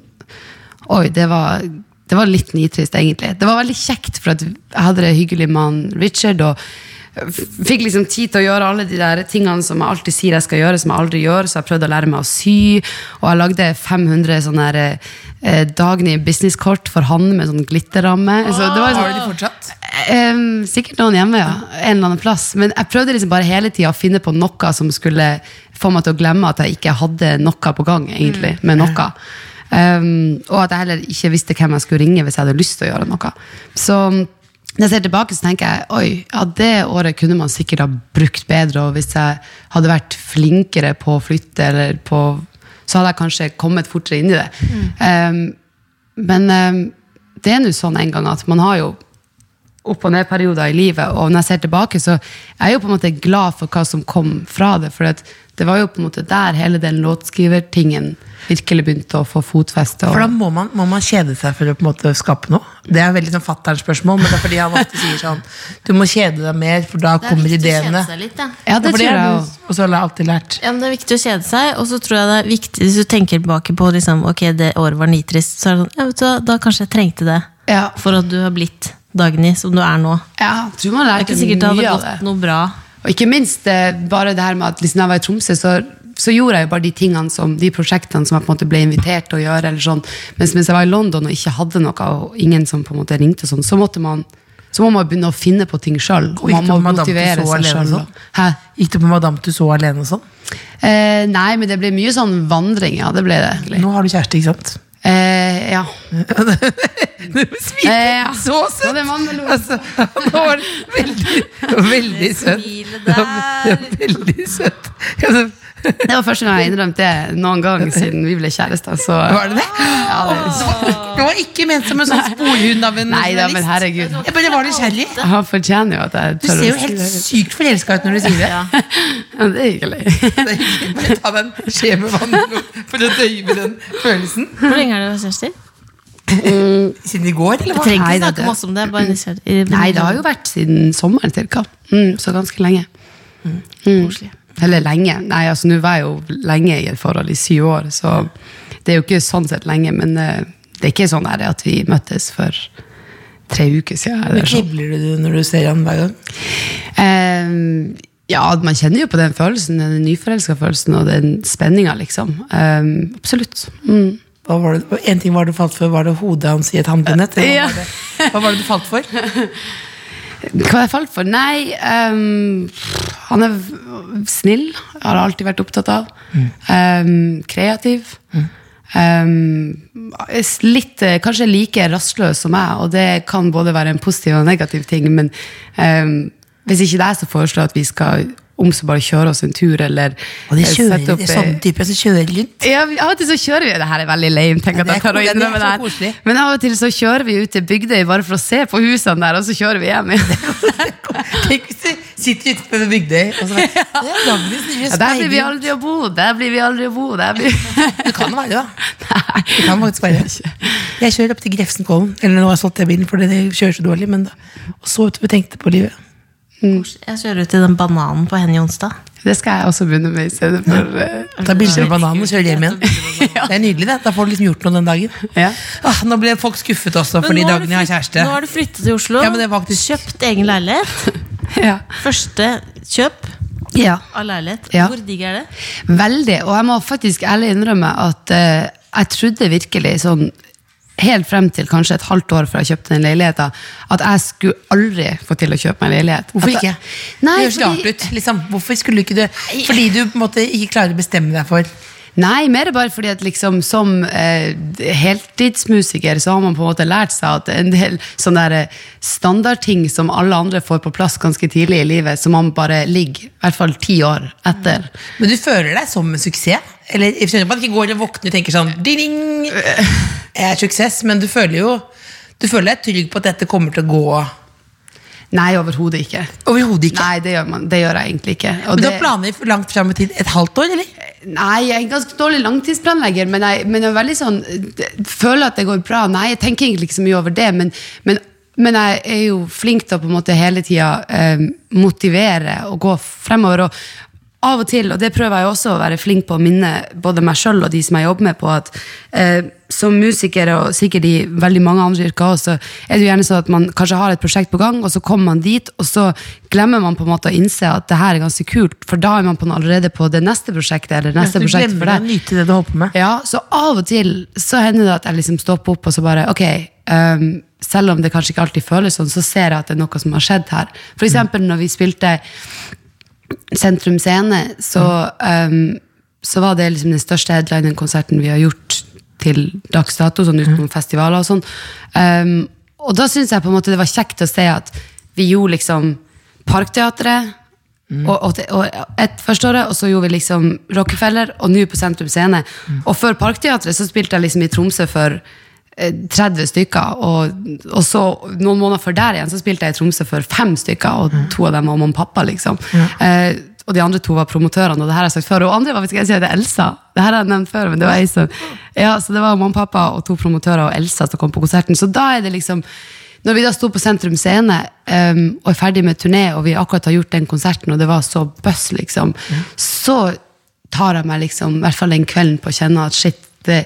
Speaker 4: Oi, det var, det var litt nitrist, egentlig. Det var veldig kjekt, for at jeg hadde det hyggelig med han Richard. og f- Fikk liksom tid til å gjøre alle de der tingene som jeg alltid sier jeg skal gjøre, som jeg aldri gjør. Så jeg prøvde å lære meg å sy, og jeg lagde 500 sånne her, eh, Dagny businesskort for han med sånn glitterramme. Så det var
Speaker 2: Ah. Har du
Speaker 4: sånn,
Speaker 2: de fortsatt?
Speaker 4: Ehm, sikkert noen hjemme, ja. En eller annen plass. Men jeg prøvde liksom bare hele tida å finne på noe som skulle få meg til å glemme at jeg ikke hadde noe på gang, egentlig, med noe. Ehm, og at jeg heller ikke visste hvem jeg skulle ringe hvis jeg hadde lyst til å gjøre noe. Så når jeg ser tilbake, så tenker jeg oi, ja, det året kunne man sikkert ha brukt bedre. Og hvis jeg hadde vært flinkere på å flytte, eller på, så hadde jeg kanskje kommet fortere inn i det. Ehm, men ehm, det er nå sånn en gang at man har jo opp- og ned-perioder i livet. Og når jeg ser tilbake, så er jeg jo på en måte glad for hva som kom fra det. For at det var jo på en måte der hele den låtskrivertingen virkelig begynte å få fotfeste.
Speaker 2: For da
Speaker 4: Og,
Speaker 2: må man, må man kjede seg for å på en måte skape noe. Det er veldig sånn fatterens spørsmål, men det er fordi han ofte sier sånn Du må kjede deg mer, for da
Speaker 3: Det er
Speaker 2: kommer
Speaker 3: viktig å
Speaker 2: ideene.
Speaker 3: kjede seg litt, da.
Speaker 4: ja, det
Speaker 2: For
Speaker 4: tror
Speaker 2: er
Speaker 4: jeg
Speaker 2: du-
Speaker 4: også.
Speaker 2: Og så har jeg alltid lært.
Speaker 3: Ja, men det er viktig å kjede seg, og så tror jeg det er viktig hvis du tenker tilbake på liksom, ok, det året var nitrist, så er det sånn, ja, vet du, hva, da kanskje jeg trengte det
Speaker 4: Ja.
Speaker 3: for at du har blitt Dagny som du er nå.
Speaker 4: Ja, jeg tror man
Speaker 3: Det er
Speaker 4: lærte
Speaker 3: ikke sikkert det hadde
Speaker 4: mye av det.
Speaker 3: gått noe bra.
Speaker 4: Og ikke minst eh, bare det her med at liksom, da jeg var i Tromsø, så, så gjorde jeg jo bare de tingene som, de prosjektene som jeg på en måte ble invitert til å gjøre, eller sånn. Mens mens jeg var i London og ikke hadde noe, og ingen som på en måte ringte og sånn, så måtte man, så må man begynne å finne på ting sjøl.
Speaker 2: Og
Speaker 4: Og
Speaker 2: gikk
Speaker 4: man
Speaker 2: du
Speaker 4: må
Speaker 2: på Madame
Speaker 4: motivere
Speaker 2: Tussauds alene
Speaker 4: seg sjøl.
Speaker 2: og sånn? Gikk du på Madame Tussauds alene og sånn?
Speaker 4: Eh, nei, men det ble mye sånn vandring, ja. Det ble det. egentlig.
Speaker 2: Nå har du kjæreste, ikke sant?
Speaker 4: Eh, ja.
Speaker 2: Du
Speaker 4: Eh, ja.
Speaker 2: smiler så
Speaker 4: Ja,
Speaker 2: søtt!
Speaker 4: det er mann, eller?
Speaker 2: Altså, han var veldig, veldig søt.
Speaker 3: Smilet der.
Speaker 2: Veldig søt. Altså,
Speaker 4: Det var første gang jeg innrømte det noen gang siden vi ble kjærester. Så.
Speaker 2: Var det det?
Speaker 4: Ja, det
Speaker 2: Det var ikke ment som en sånn sporhund av en
Speaker 4: nei da, men
Speaker 2: journalist.
Speaker 4: herregud.
Speaker 2: Jeg bare var nysgjerrig.
Speaker 4: Han fortjener jo at jeg
Speaker 2: Du
Speaker 4: tør
Speaker 2: ser
Speaker 4: å
Speaker 2: jo
Speaker 4: si
Speaker 2: helt
Speaker 4: det.
Speaker 2: sykt forelska ut når du sier det.
Speaker 3: Ja.
Speaker 4: Ja, det er hyggelig.
Speaker 2: Det er ikke- Bare ta deg en skje med vann for å døyve den følelsen.
Speaker 3: Hvor lenge har dere vært kjærester?
Speaker 2: Siden i går, eller
Speaker 3: Vi
Speaker 2: hva?
Speaker 3: trenger
Speaker 4: Nei,
Speaker 3: ikke
Speaker 4: da, det-
Speaker 3: snakke masse om det. Bare nysgjerrig.
Speaker 4: Nei, det har jo vært siden sommeren cirka. Mm, så ganske lenge. Mm. Eller lenge. Nei, altså nå var jeg jo lenge i et forhold i syv år, så det er jo ikke sånn sett lenge, men eh, det er ikke sånn der at vi møttes for tre uker siden. Eller sånn.
Speaker 2: Knibler du når du ser han hver gang?
Speaker 4: Ehm, ja, man kjenner jo på den følelsen, den nyforelska følelsen og den spenninga, liksom. Ehm, absolutt. Mm.
Speaker 2: Hva var det, en ting var det du falt for, var det hodet hans i et håndbåndet? eller Hva, var det- hva var det du falt for?
Speaker 4: Hva jeg falt for? Nei, ehm, han er v- snill. Har jeg alltid vært opptatt av.
Speaker 2: Mm.
Speaker 4: Ehm, kreativ. Ehm, s- litt, eh, kanskje like rastløs som meg, og det kan både være en positiv og en negativ ting. Men ehm, hvis ikke det er, så foreslår jeg at vi skal om så bare kjøre oss en tur, eller
Speaker 2: Og de
Speaker 4: eh,
Speaker 2: kjører, det er sånn
Speaker 4: eh,
Speaker 2: sånne typer som kjører rundt.
Speaker 4: ja, vi- Av og til så kjører vi Det her er veldig lame, tenk at
Speaker 2: Ja, det er
Speaker 4: jeg tar å
Speaker 2: koselig, det er
Speaker 4: innrømme
Speaker 2: så
Speaker 4: det her.
Speaker 2: koselig.
Speaker 4: Men av og til så kjører vi ut til Bygdøy bare for å se på husene der, og så kjører vi hjem igjen.
Speaker 2: Tenk hvis du sitter ute på Bygdøy og så det er Dagnys nye
Speaker 4: Ja, der blir vi
Speaker 2: speider.
Speaker 4: aldri å bo, der blir vi aldri å bo. Der blir...
Speaker 2: Det kan være, da.
Speaker 4: Nei.
Speaker 2: Det kan faktisk være. Jeg kjører opp til Grefsenkollen. Eller nå har jeg solgt den bilen, for det kjører så dårlig. Men da. Og så ut og tenkte på livet.
Speaker 3: Jeg kjører ut i den bananen på Henny Jonstad.
Speaker 4: Det skal jeg også begynne med i stedet for eh,
Speaker 2: Ta bilder av bananen og kjører hjem igjen. Det er nydelig, det. Da får du liksom gjort noe den dagen.
Speaker 4: Ja.
Speaker 2: Ah, nå ble folk skuffet også, fordi Dagny har kjæreste.
Speaker 3: Nå har du flyttet til Oslo.
Speaker 2: Ja, men det er faktisk-
Speaker 3: Kjøpt egen leilighet.
Speaker 4: ja.
Speaker 3: Første kjøp
Speaker 4: ja.
Speaker 3: av leilighet.
Speaker 4: Ja.
Speaker 3: Hvor digg er det?
Speaker 4: Veldig. Og jeg må faktisk ærlig innrømme at eh, jeg trodde virkelig sånn Helt frem til kanskje et halvt år før jeg kjøpte den leiligheten, at jeg skulle aldri få til å kjøpe meg leilighet.
Speaker 2: Hvorfor
Speaker 4: At
Speaker 2: ikke?
Speaker 4: jeg- Nei,
Speaker 2: det høres
Speaker 4: fordi-
Speaker 2: rart ut. Liksom. Hvorfor skulle ikke du Fordi du på en måte ikke klarer å bestemme deg for
Speaker 4: Nei, mer bare fordi at liksom som eh, heltidsmusiker så har man på en måte lært seg at en del sånne der eh, standardting som alle andre får på plass ganske tidlig i livet, som man bare ligger i hvert fall ti år etter.
Speaker 2: Men du føler deg som en suksess? Eller jeg skjønner at man ikke går og våkner og tenker sånn ding, ding. Jeg er suksess, men du føler jo Du føler deg trygg på at dette kommer til å gå
Speaker 4: Nei, overhodet ikke.
Speaker 2: overhodet ikke?
Speaker 4: Nei, det gjør, man, det gjør jeg egentlig ikke. Og
Speaker 2: men du
Speaker 4: det-
Speaker 2: har planer for langt fram i tid? Et halvt år, eller?
Speaker 4: Nei, jeg er en ganske dårlig langtidsplanlegger, men jeg, men jeg er veldig sånn, jeg føler at det går bra. Nei, jeg tenker egentlig ikke så mye over det, men, men, men jeg er jo flink til å på en måte hele tida eh, motivere og gå fremover. Og av og til, og det prøver jeg også å være flink på å minne både meg sjøl og de som jeg jobber med, på at eh, som musiker, og sikkert i veldig mange andre yrker også, så er det jo gjerne sånn at man kanskje har et prosjekt på gang, og så kommer man dit, og så glemmer man på en måte å innse at det her er ganske kult, for da er man på en, allerede på det neste prosjektet, eller neste
Speaker 2: du
Speaker 4: prosjekt for
Speaker 2: glemmer å
Speaker 4: deg.
Speaker 2: nyte det du holder på med.
Speaker 4: Ja, så av og til så hender det at jeg liksom stopper opp og så bare, ok, ehm, selv om det kanskje ikke alltid føles sånn, så ser jeg at det er noe som har skjedd her. For eksempel når vi spilte Sentrum Scene, så, ehm, så var det liksom den største headlinen-konserten vi har gjort til dags dato, sånn utenom festivaler og sånn. Ehm, og da synes jeg på en måte det var kjekt å se at vi gjorde liksom Parkteatret, og, og, det- og et første året, og så gjorde vi liksom Rockefeller, og nå på Sentrum Scene. Og før Parkteatret så spilte jeg liksom i Tromsø for eh, 30 stykker, og, og så noen måneder før der igjen så spilte jeg i Tromsø for fem stykker, og to av dem var mamma og pappa, liksom. Eh, og de andre to var promotørene, og det her har jeg sagt før. Og andre var, vet ikke, jeg sier det er Elsa. Det her har jeg nevnt før, men det var jeg som... Ja, så det var mamma og pappa og to promotører og Elsa som kom på konserten. Så da er det liksom... Når vi da sto på Sentrum Scene ehm, og er ferdig med turné, og vi akkurat har gjort den konserten, og det var så bøss, liksom, så tar jeg meg liksom, i hvert fall den kvelden på å kjenne at shit, det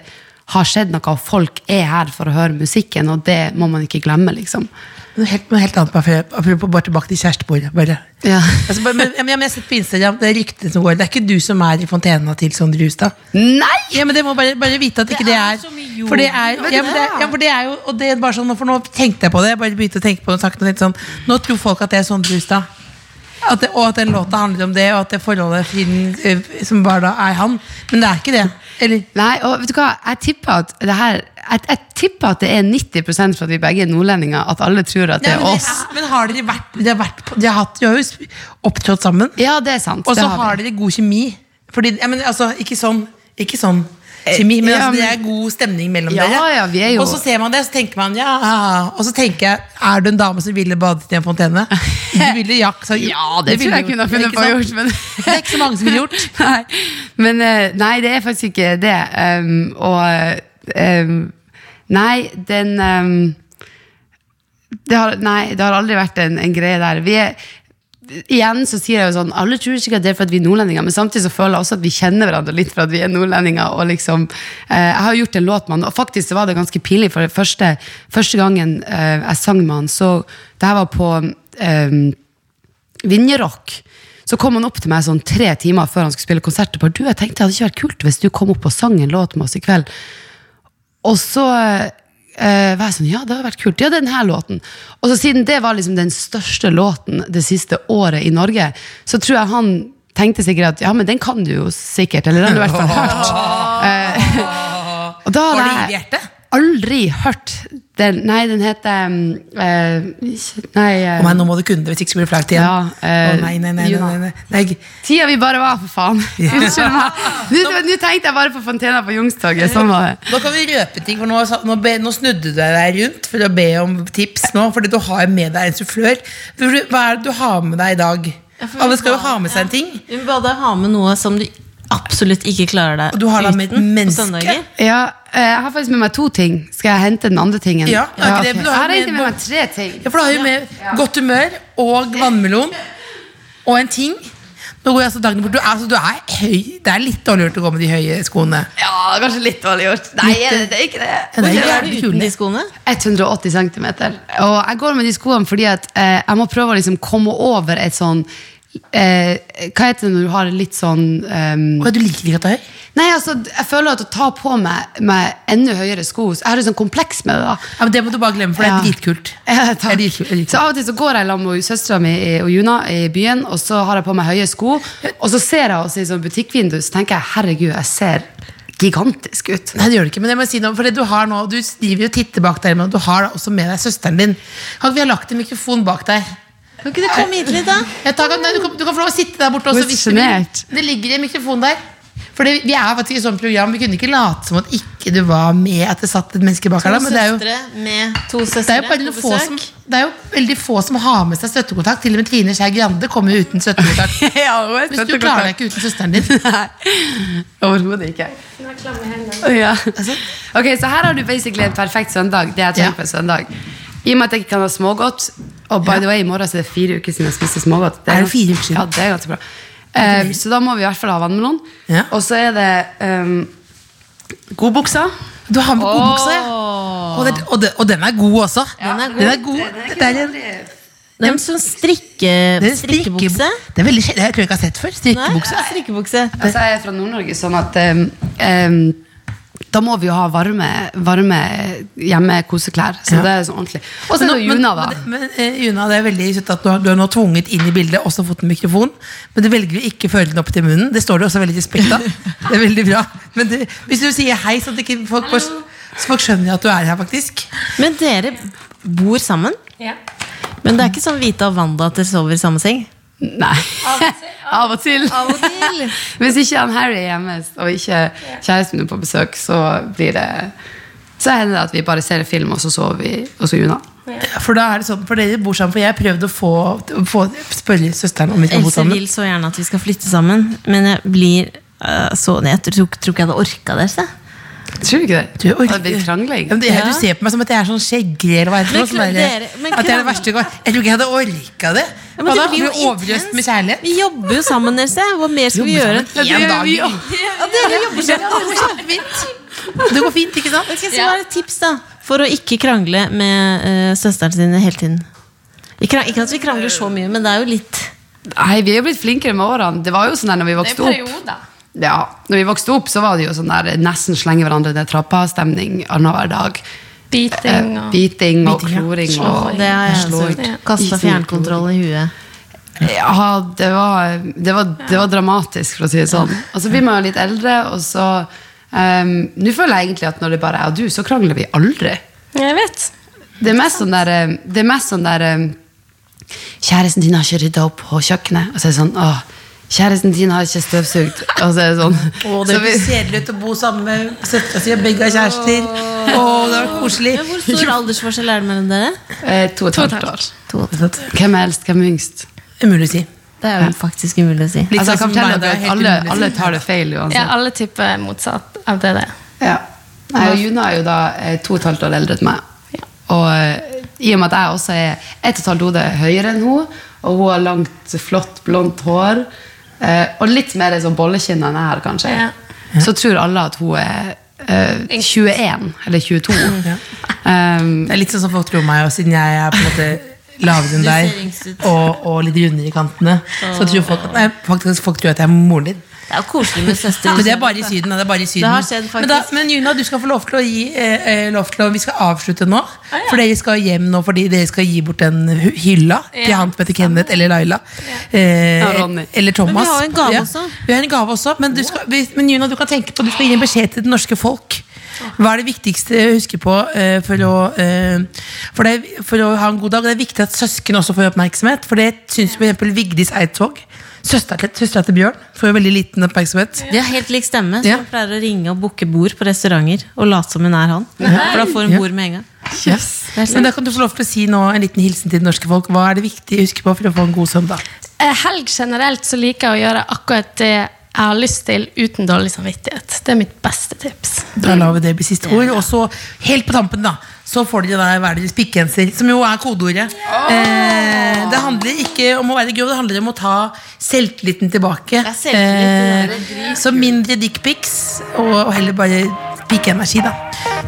Speaker 4: har skjedd noe, og folk er her for å høre musikken, og det må man ikke glemme, liksom.
Speaker 2: Noe helt, noe helt annet, bare, for- apropos bare tilbake til kjærestebordet. Bare.
Speaker 4: Ja.
Speaker 2: Altså, bare, men, ja, men jeg har sett på Instagram, det er ryktene som går. Det er ikke du som er i fontena til Sondre Hustad?
Speaker 4: Nei!
Speaker 2: Ja, men det må bare, bare vite at ikke det
Speaker 3: er
Speaker 2: er,
Speaker 3: så mye jord.
Speaker 2: For det er,
Speaker 4: Vet du
Speaker 2: ja, men det,
Speaker 4: hva?
Speaker 2: ja, for det er jo og det er bare sånn, For nå tenkte jeg på det. Jeg bare begynte å tenke på det og snakket om det litt sånn, Nå tror folk at det er Sondre Hustad. At det, og at den låta handler om det, og at det forholdet Friden, eh, som var da, er han. Men det er ikke det. Eller?
Speaker 4: Nei, og vet du hva, jeg tipper at det her jeg, jeg tipper at det er 90 for at vi begge er nordlendinger, at alle tror at det
Speaker 2: Nei,
Speaker 4: er
Speaker 2: men,
Speaker 4: oss.
Speaker 2: men har dere vært De har, vært, på- de har, hatt, de har jo sp- opptrådt sammen.
Speaker 4: Ja, det er sant.
Speaker 2: Og
Speaker 4: det
Speaker 2: så
Speaker 4: vi.
Speaker 2: har dere god kjemi. Fordi, ja, men, altså, ikke sånn, ikke sånn kjemi, men,
Speaker 4: Eh, ja,
Speaker 2: altså, det
Speaker 4: men-
Speaker 2: er god stemning mellom
Speaker 4: Ja,
Speaker 2: dere.
Speaker 4: ja, vi er jo-
Speaker 2: Og så ser man det, så tenker man ja. Og så tenker jeg, er du en dame som ville badet i en fontene? Du ville jakt, så,
Speaker 4: Ja, det,
Speaker 2: ville
Speaker 4: tror
Speaker 2: gjort,
Speaker 4: jeg kunne
Speaker 2: men
Speaker 4: ha funnet
Speaker 2: ikke
Speaker 4: på å
Speaker 2: sant?
Speaker 4: gjort, men
Speaker 2: Det er ikke så mange som ville gjort.
Speaker 4: Nei, men, eh, nei det er faktisk ikke det. Um, og um, Nei, den um, det har, Nei, det har aldri vært en, en greie der. Vi er Igjen så sier jeg jo sånn Alle tror sikkert det er for at vi er nordlendinger, men samtidig så føler jeg også at vi kjenner hverandre litt for at vi er nordlendinger. Og liksom, eh, jeg har jo gjort en låt med han, og faktisk så var det ganske pinlig, for det første, første gangen eh, jeg sang med han, så det her var på eh, Vinjerock. Så kom han opp til meg sånn tre timer før han skulle spille konsert. Og bare, du, jeg tenkte det hadde ikke vært kult hvis du kom opp og sang en låt med oss i kveld. Og så eh, var jeg sånn, ja, det hadde vært kult. Ja, den her låten. Og så siden det var liksom den største låten det siste året i Norge, så tror jeg han tenkte sikkert at ja, men den kan du jo sikkert. Eller den har du i hvert fall hørt. Eh, og da
Speaker 2: Var det
Speaker 4: hadde
Speaker 2: Iv
Speaker 4: jeg
Speaker 2: Hjerte?
Speaker 4: aldri hørt den. Nei, den heter um, eh, Nei. eh,
Speaker 2: Å nei, nå må du kunne det, hvis ikke så blir det flaut igjen.
Speaker 4: Ja, eh,
Speaker 2: Å, nei, nei, nei, nei, nei, nei, nei.
Speaker 4: Tida vi bare var, for faen. Unnskyld meg. Nå, nå tenkte jeg bare på Fontena på Youngstorget. Sånn var det.
Speaker 2: Nå kan vi røpe ting, for nå, sa- nå, be, nå snudde du deg rundt for å be om tips nå, fordi du har med deg en sufflør. For du- Hva er det du har med deg i dag?
Speaker 3: Ja, for vi
Speaker 2: Alle skal jo
Speaker 3: ba-
Speaker 2: ha med seg en ting.
Speaker 3: Vi vil bare ha med noe som du absolutt ikke klarer deg
Speaker 2: Og du har da med et
Speaker 3: på
Speaker 2: menneske?
Speaker 3: søndager.
Speaker 4: Ja, eh, jeg har faktisk med meg to ting. Skal jeg hente den andre tingen?
Speaker 2: Ja, er ikke det,
Speaker 4: ok.
Speaker 2: men du
Speaker 4: Jeg
Speaker 2: har
Speaker 4: har
Speaker 2: med-
Speaker 4: egentlig med meg tre ting.
Speaker 2: Ja, for du har jo med godt humør og vannmelon og en ting. Nå går jeg altså dagene bort. Du er, altså, du er høy. Det er litt dårlig gjort å gå med de høye skoene.
Speaker 4: Ja, kanskje litt dårlig gjort. Nei, det, er ikke det.
Speaker 2: Nei,
Speaker 3: Hvor
Speaker 2: det
Speaker 3: høy
Speaker 2: er
Speaker 3: er du
Speaker 2: det
Speaker 3: uten de
Speaker 2: kule.
Speaker 3: skoene?
Speaker 4: 180 cm. Og jeg går med de skoene fordi at eh, jeg må prøve å liksom komme over et sånn eh, Hva heter det når du har litt sånn ehm,
Speaker 2: Hva, du liker ikke at det er høy?
Speaker 4: Nei, altså, jeg føler at å ta på meg med enda høyere sko Jeg har jo sånn kompleks med det, da.
Speaker 2: Ja, men Det må du bare glemme, for det er
Speaker 4: Ja.
Speaker 2: dritkult.
Speaker 4: Ja, takk.
Speaker 2: Jeg liker- jeg liker.
Speaker 4: Så Av og til så går jeg sammen med søstera mi og Juna i byen, og så har jeg på meg høye sko. Og så ser jeg oss i sånn butikkvindu, så tenker jeg herregud, jeg ser gigantisk ut.
Speaker 2: Nei, det gjør det ikke, men jeg må si noe, for det du har nå, du driver jo og titter bak der, men du har da også med deg søsteren din. Kan ikke vi ha lagt en mikrofon bak der?
Speaker 3: Kan ikke du komme hit litt, da?
Speaker 2: Jeg tar, nei, du, kan, du kan få lov å sitte der borte også.
Speaker 4: Hvor
Speaker 2: hvis du vil.
Speaker 4: sjenert.
Speaker 2: Det ligger en mikrofon der. For det, vi er faktisk i sånn program, vi kunne ikke late som at ikke du var med at det satt et menneske bak
Speaker 3: To
Speaker 2: her. da, Men det er jo,
Speaker 3: søstre med to
Speaker 2: det er
Speaker 3: søstre
Speaker 2: jo, bare noen
Speaker 3: på
Speaker 2: få
Speaker 3: besøk.
Speaker 2: som, det er jo veldig få som har med seg støttekontakt. Til og med Trine Skei Grande kommer jo uten støttekontakt. Hvis du klarer deg ikke uten søsteren din.
Speaker 4: Overhodet ikke. Ja. Ok, Så her har du basically en perfekt søndag. Det jeg trenger
Speaker 2: Ja.
Speaker 4: på en søndag I og med at jeg ikke kan ha smågodt. Og by
Speaker 2: Ja.
Speaker 4: the way, i morgen så er det fire uker siden jeg spiste smågodt.
Speaker 2: Er det
Speaker 4: gans-
Speaker 2: fire uker siden?
Speaker 4: Ja, det er ganske bra. Eh, så da må vi i hvert fall ha vannmelon.
Speaker 2: Ja.
Speaker 4: Og så er det um, god buksa.
Speaker 2: Du har med godbuksa, ja. Og, det, og, det, og den er god også.
Speaker 3: Den er god.
Speaker 2: Den er god. Det er en,
Speaker 3: Det er en sånn strikke,
Speaker 2: det er en
Speaker 3: strikkebukse.
Speaker 2: strikkebukse. Det er veldig kjent, jeg tror jeg ikke jeg har sett før.
Speaker 3: Nei,
Speaker 2: Strikkebukse.
Speaker 3: strikkebukse.
Speaker 4: Altså, jeg er fra Nord-Norge, sånn at um, um, da må vi jo ha varme, varme hjemmekoseklær. Så
Speaker 2: Ja.
Speaker 4: det er sånn ordentlig. Og så er det
Speaker 2: Men-
Speaker 4: Juna, da.
Speaker 2: Men, men, eh, Juna, det er veldig søtt at du har, du har nå tvunget inn i bildet, også fått en mikrofon, men du velger jo ikke å føre den opp til munnen. Det står det også veldig respekt av. Det er veldig bra. Men du, hvis du sier hei, sånn at ikke folk, får- så folk skjønner at du er her, faktisk.
Speaker 3: Men dere bor sammen? Men det er ikke sånn Vita og Wanda at dere sover i samme seng?
Speaker 4: Nei. Av og til.
Speaker 3: Av og til.
Speaker 4: Hvis ikke han Harry er hjemme, og ikke kjæresten er på besøk, så blir det Så hender det at vi bare ser en film, og så sover vi hos Juna.
Speaker 2: For da er det sånn, for dere bor sammen, for jeg prøvde å få, å få spørre søsteren om vi kan bo
Speaker 3: Else
Speaker 2: sammen.
Speaker 3: vil så gjerne at vi skal flytte sammen, men jeg blir eh, så Jeg tror, tror ikke jeg hadde orka det. se.
Speaker 4: Tror du ikke det?
Speaker 2: Du, orker-
Speaker 4: det blir krangling.
Speaker 2: Ja, men det,
Speaker 3: Ja.
Speaker 2: Du ser på meg som at jeg er sånn skjeggre eller hva heter det
Speaker 3: Men
Speaker 2: for noe, som er-
Speaker 3: dere- men
Speaker 2: sånn At jeg er det
Speaker 3: krangling-
Speaker 2: verste jeg har- Jeg tror ikke jeg hadde orka det.
Speaker 3: Ja,
Speaker 2: Hva
Speaker 3: men
Speaker 2: da?
Speaker 3: det blir jo
Speaker 2: Blir vi overøst
Speaker 3: intenst.
Speaker 2: med kjærlighet?
Speaker 3: Vi jobber jo sammen, Else. Hva mer skal vi gjøre?
Speaker 2: Jobber sammen en dag.
Speaker 4: vi
Speaker 3: Ja, dere jobber sammen.
Speaker 2: Det går kjempefint. Det går fint, ikke sant?
Speaker 3: Ok, så hva er et tips da For å ikke krangle med eh, søsteren sin hele tiden Vi krang- Ikke at vi krangler så mye, men det er jo litt
Speaker 4: Nei, vi er jo blitt flinkere med årene. Det var jo sånn der når vi vokste opp. Ja, når vi vokste opp, så var det jo sånn der nesten slenge hverandre ned trappa-stemning annenhver dag.
Speaker 6: Biting
Speaker 4: Eh,
Speaker 6: og
Speaker 4: Biting og
Speaker 2: Biting, ja.
Speaker 4: kloring og
Speaker 3: Det har jeg altså
Speaker 4: slåing.
Speaker 3: gjort. Kastet fjernkontroll i huet
Speaker 4: Ja, det var, det, var, det var dramatisk, for å si det sånn. Og så blir man jo litt eldre, og så ehm, Nå føler jeg egentlig at når det bare er jeg og du, så krangler vi aldri.
Speaker 6: Jeg vet.
Speaker 4: Det er mest sånn der, ehm, det er mest sånn der ehm, Kjæresten din har ikke rydda opp på kjøkkenet. Og så er det sånn åh, Kjæresten din har ikke støvsugd. Og så er det sånn.
Speaker 2: Og det
Speaker 4: Så vi,
Speaker 2: blir kjedelig ut å bo sammen med søstera si, og begge har kjærester. Å, det var koselig.
Speaker 3: Men hvor stor aldersforskjell er det mellom dere?
Speaker 4: eh, to og et halvt år. Hvem er eldst, hvem er yngst?
Speaker 2: Umulig å si.
Speaker 3: Det er jo faktisk umulig å si
Speaker 2: Litt
Speaker 4: Altså, jeg
Speaker 2: sånn som
Speaker 4: kan fortelle
Speaker 2: meg, det er
Speaker 4: deg at
Speaker 2: helt
Speaker 4: alle,
Speaker 2: umulig å si.
Speaker 4: alle tar det feil uansett.
Speaker 6: Ja, alle tipper motsatt av det der.
Speaker 4: Ja. Nei, og Juna er jo da eh, to og et halvt år eldre enn meg. Og eh, i og med at jeg også er ett og et halvt hode høyere enn hun og hun har langt, flott, blondt hår, eh, og litt mer sånn bollekinn enn jeg har, kanskje,
Speaker 6: Ja.
Speaker 4: så tror alle at hun er eh, 21 eller 22. Um,
Speaker 2: Det er litt sånn som folk tror meg, og siden jeg er på en måte lavere enn
Speaker 3: Du ser yngst
Speaker 2: deg
Speaker 3: ut.
Speaker 2: og, og litt rundere i kantene, så tror folk, nei, faktisk, folk tror at jeg er moren din.
Speaker 3: Det er jo koselig med søster
Speaker 2: Men det er bare i Syden. da, Det er bare i syden.
Speaker 3: Det har skjedd,
Speaker 2: men, da,
Speaker 3: faktisk.
Speaker 2: men Juna, du skal få lov til å gi eh, eh, lov til å, Vi skal avslutte nå.
Speaker 3: Ah,
Speaker 2: For dere skal hjem nå fordi dere skal gi bort den hy- hylla til han som heter Kenneth eller Laila. Eh,
Speaker 4: Ja, Ronny.
Speaker 2: eller Thomas.
Speaker 3: Men vi har jo en gave også.
Speaker 2: Vi har en gave også men, du skal, vi, men Juna, du kan tenke på Du skal gi en beskjed til det norske folk. Hva er det viktigste å huske på eh, for, å, eh, for, det, for å ha en god dag? Det er viktig at søsken også får oppmerksomhet. For det syns for eksempel Vigdis Eidsvåg. Søstera til, søstera til Bjørn får jo veldig liten oppmerksomhet.
Speaker 3: De har helt lik stemme
Speaker 2: Ja.
Speaker 3: Som pleier å ringe og boke bord på restauranter Og late som hun er han For da får hun
Speaker 2: Ja.
Speaker 3: bord med en gang
Speaker 2: Ja. Men da kan du få lov til å si nå en liten hilsen til det norske folk. Hva er det viktig å huske på for å få en god søndag?
Speaker 6: Eh, Helg generelt så liker jeg å gjøre akkurat det jeg har lyst til uten dårlig samvittighet. Det er mitt beste tips.
Speaker 2: Da lar vi det bli siste ord. Og så, helt på tampen, da, så får dere da hver deres pikkgenser, som jo er kodeordet. Eh, det handler ikke om å være grov, det handler om å ta selvtilliten tilbake.
Speaker 3: er selvtillit, det
Speaker 2: Eh, så mindre dickpics, og, og heller bare pikeenergi, da.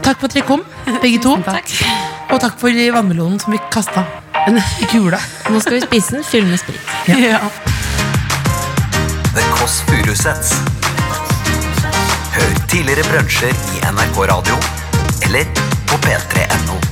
Speaker 2: Takk for at dere kom, begge to. Og takk for vannmelonen som vi kasta i kula.
Speaker 3: Nå skal vi spise den, fyll med sprit
Speaker 2: Ja.
Speaker 1: The Kåss Furuseths. Hør tidligere brunsjer i NRK Radio eller på p3.no.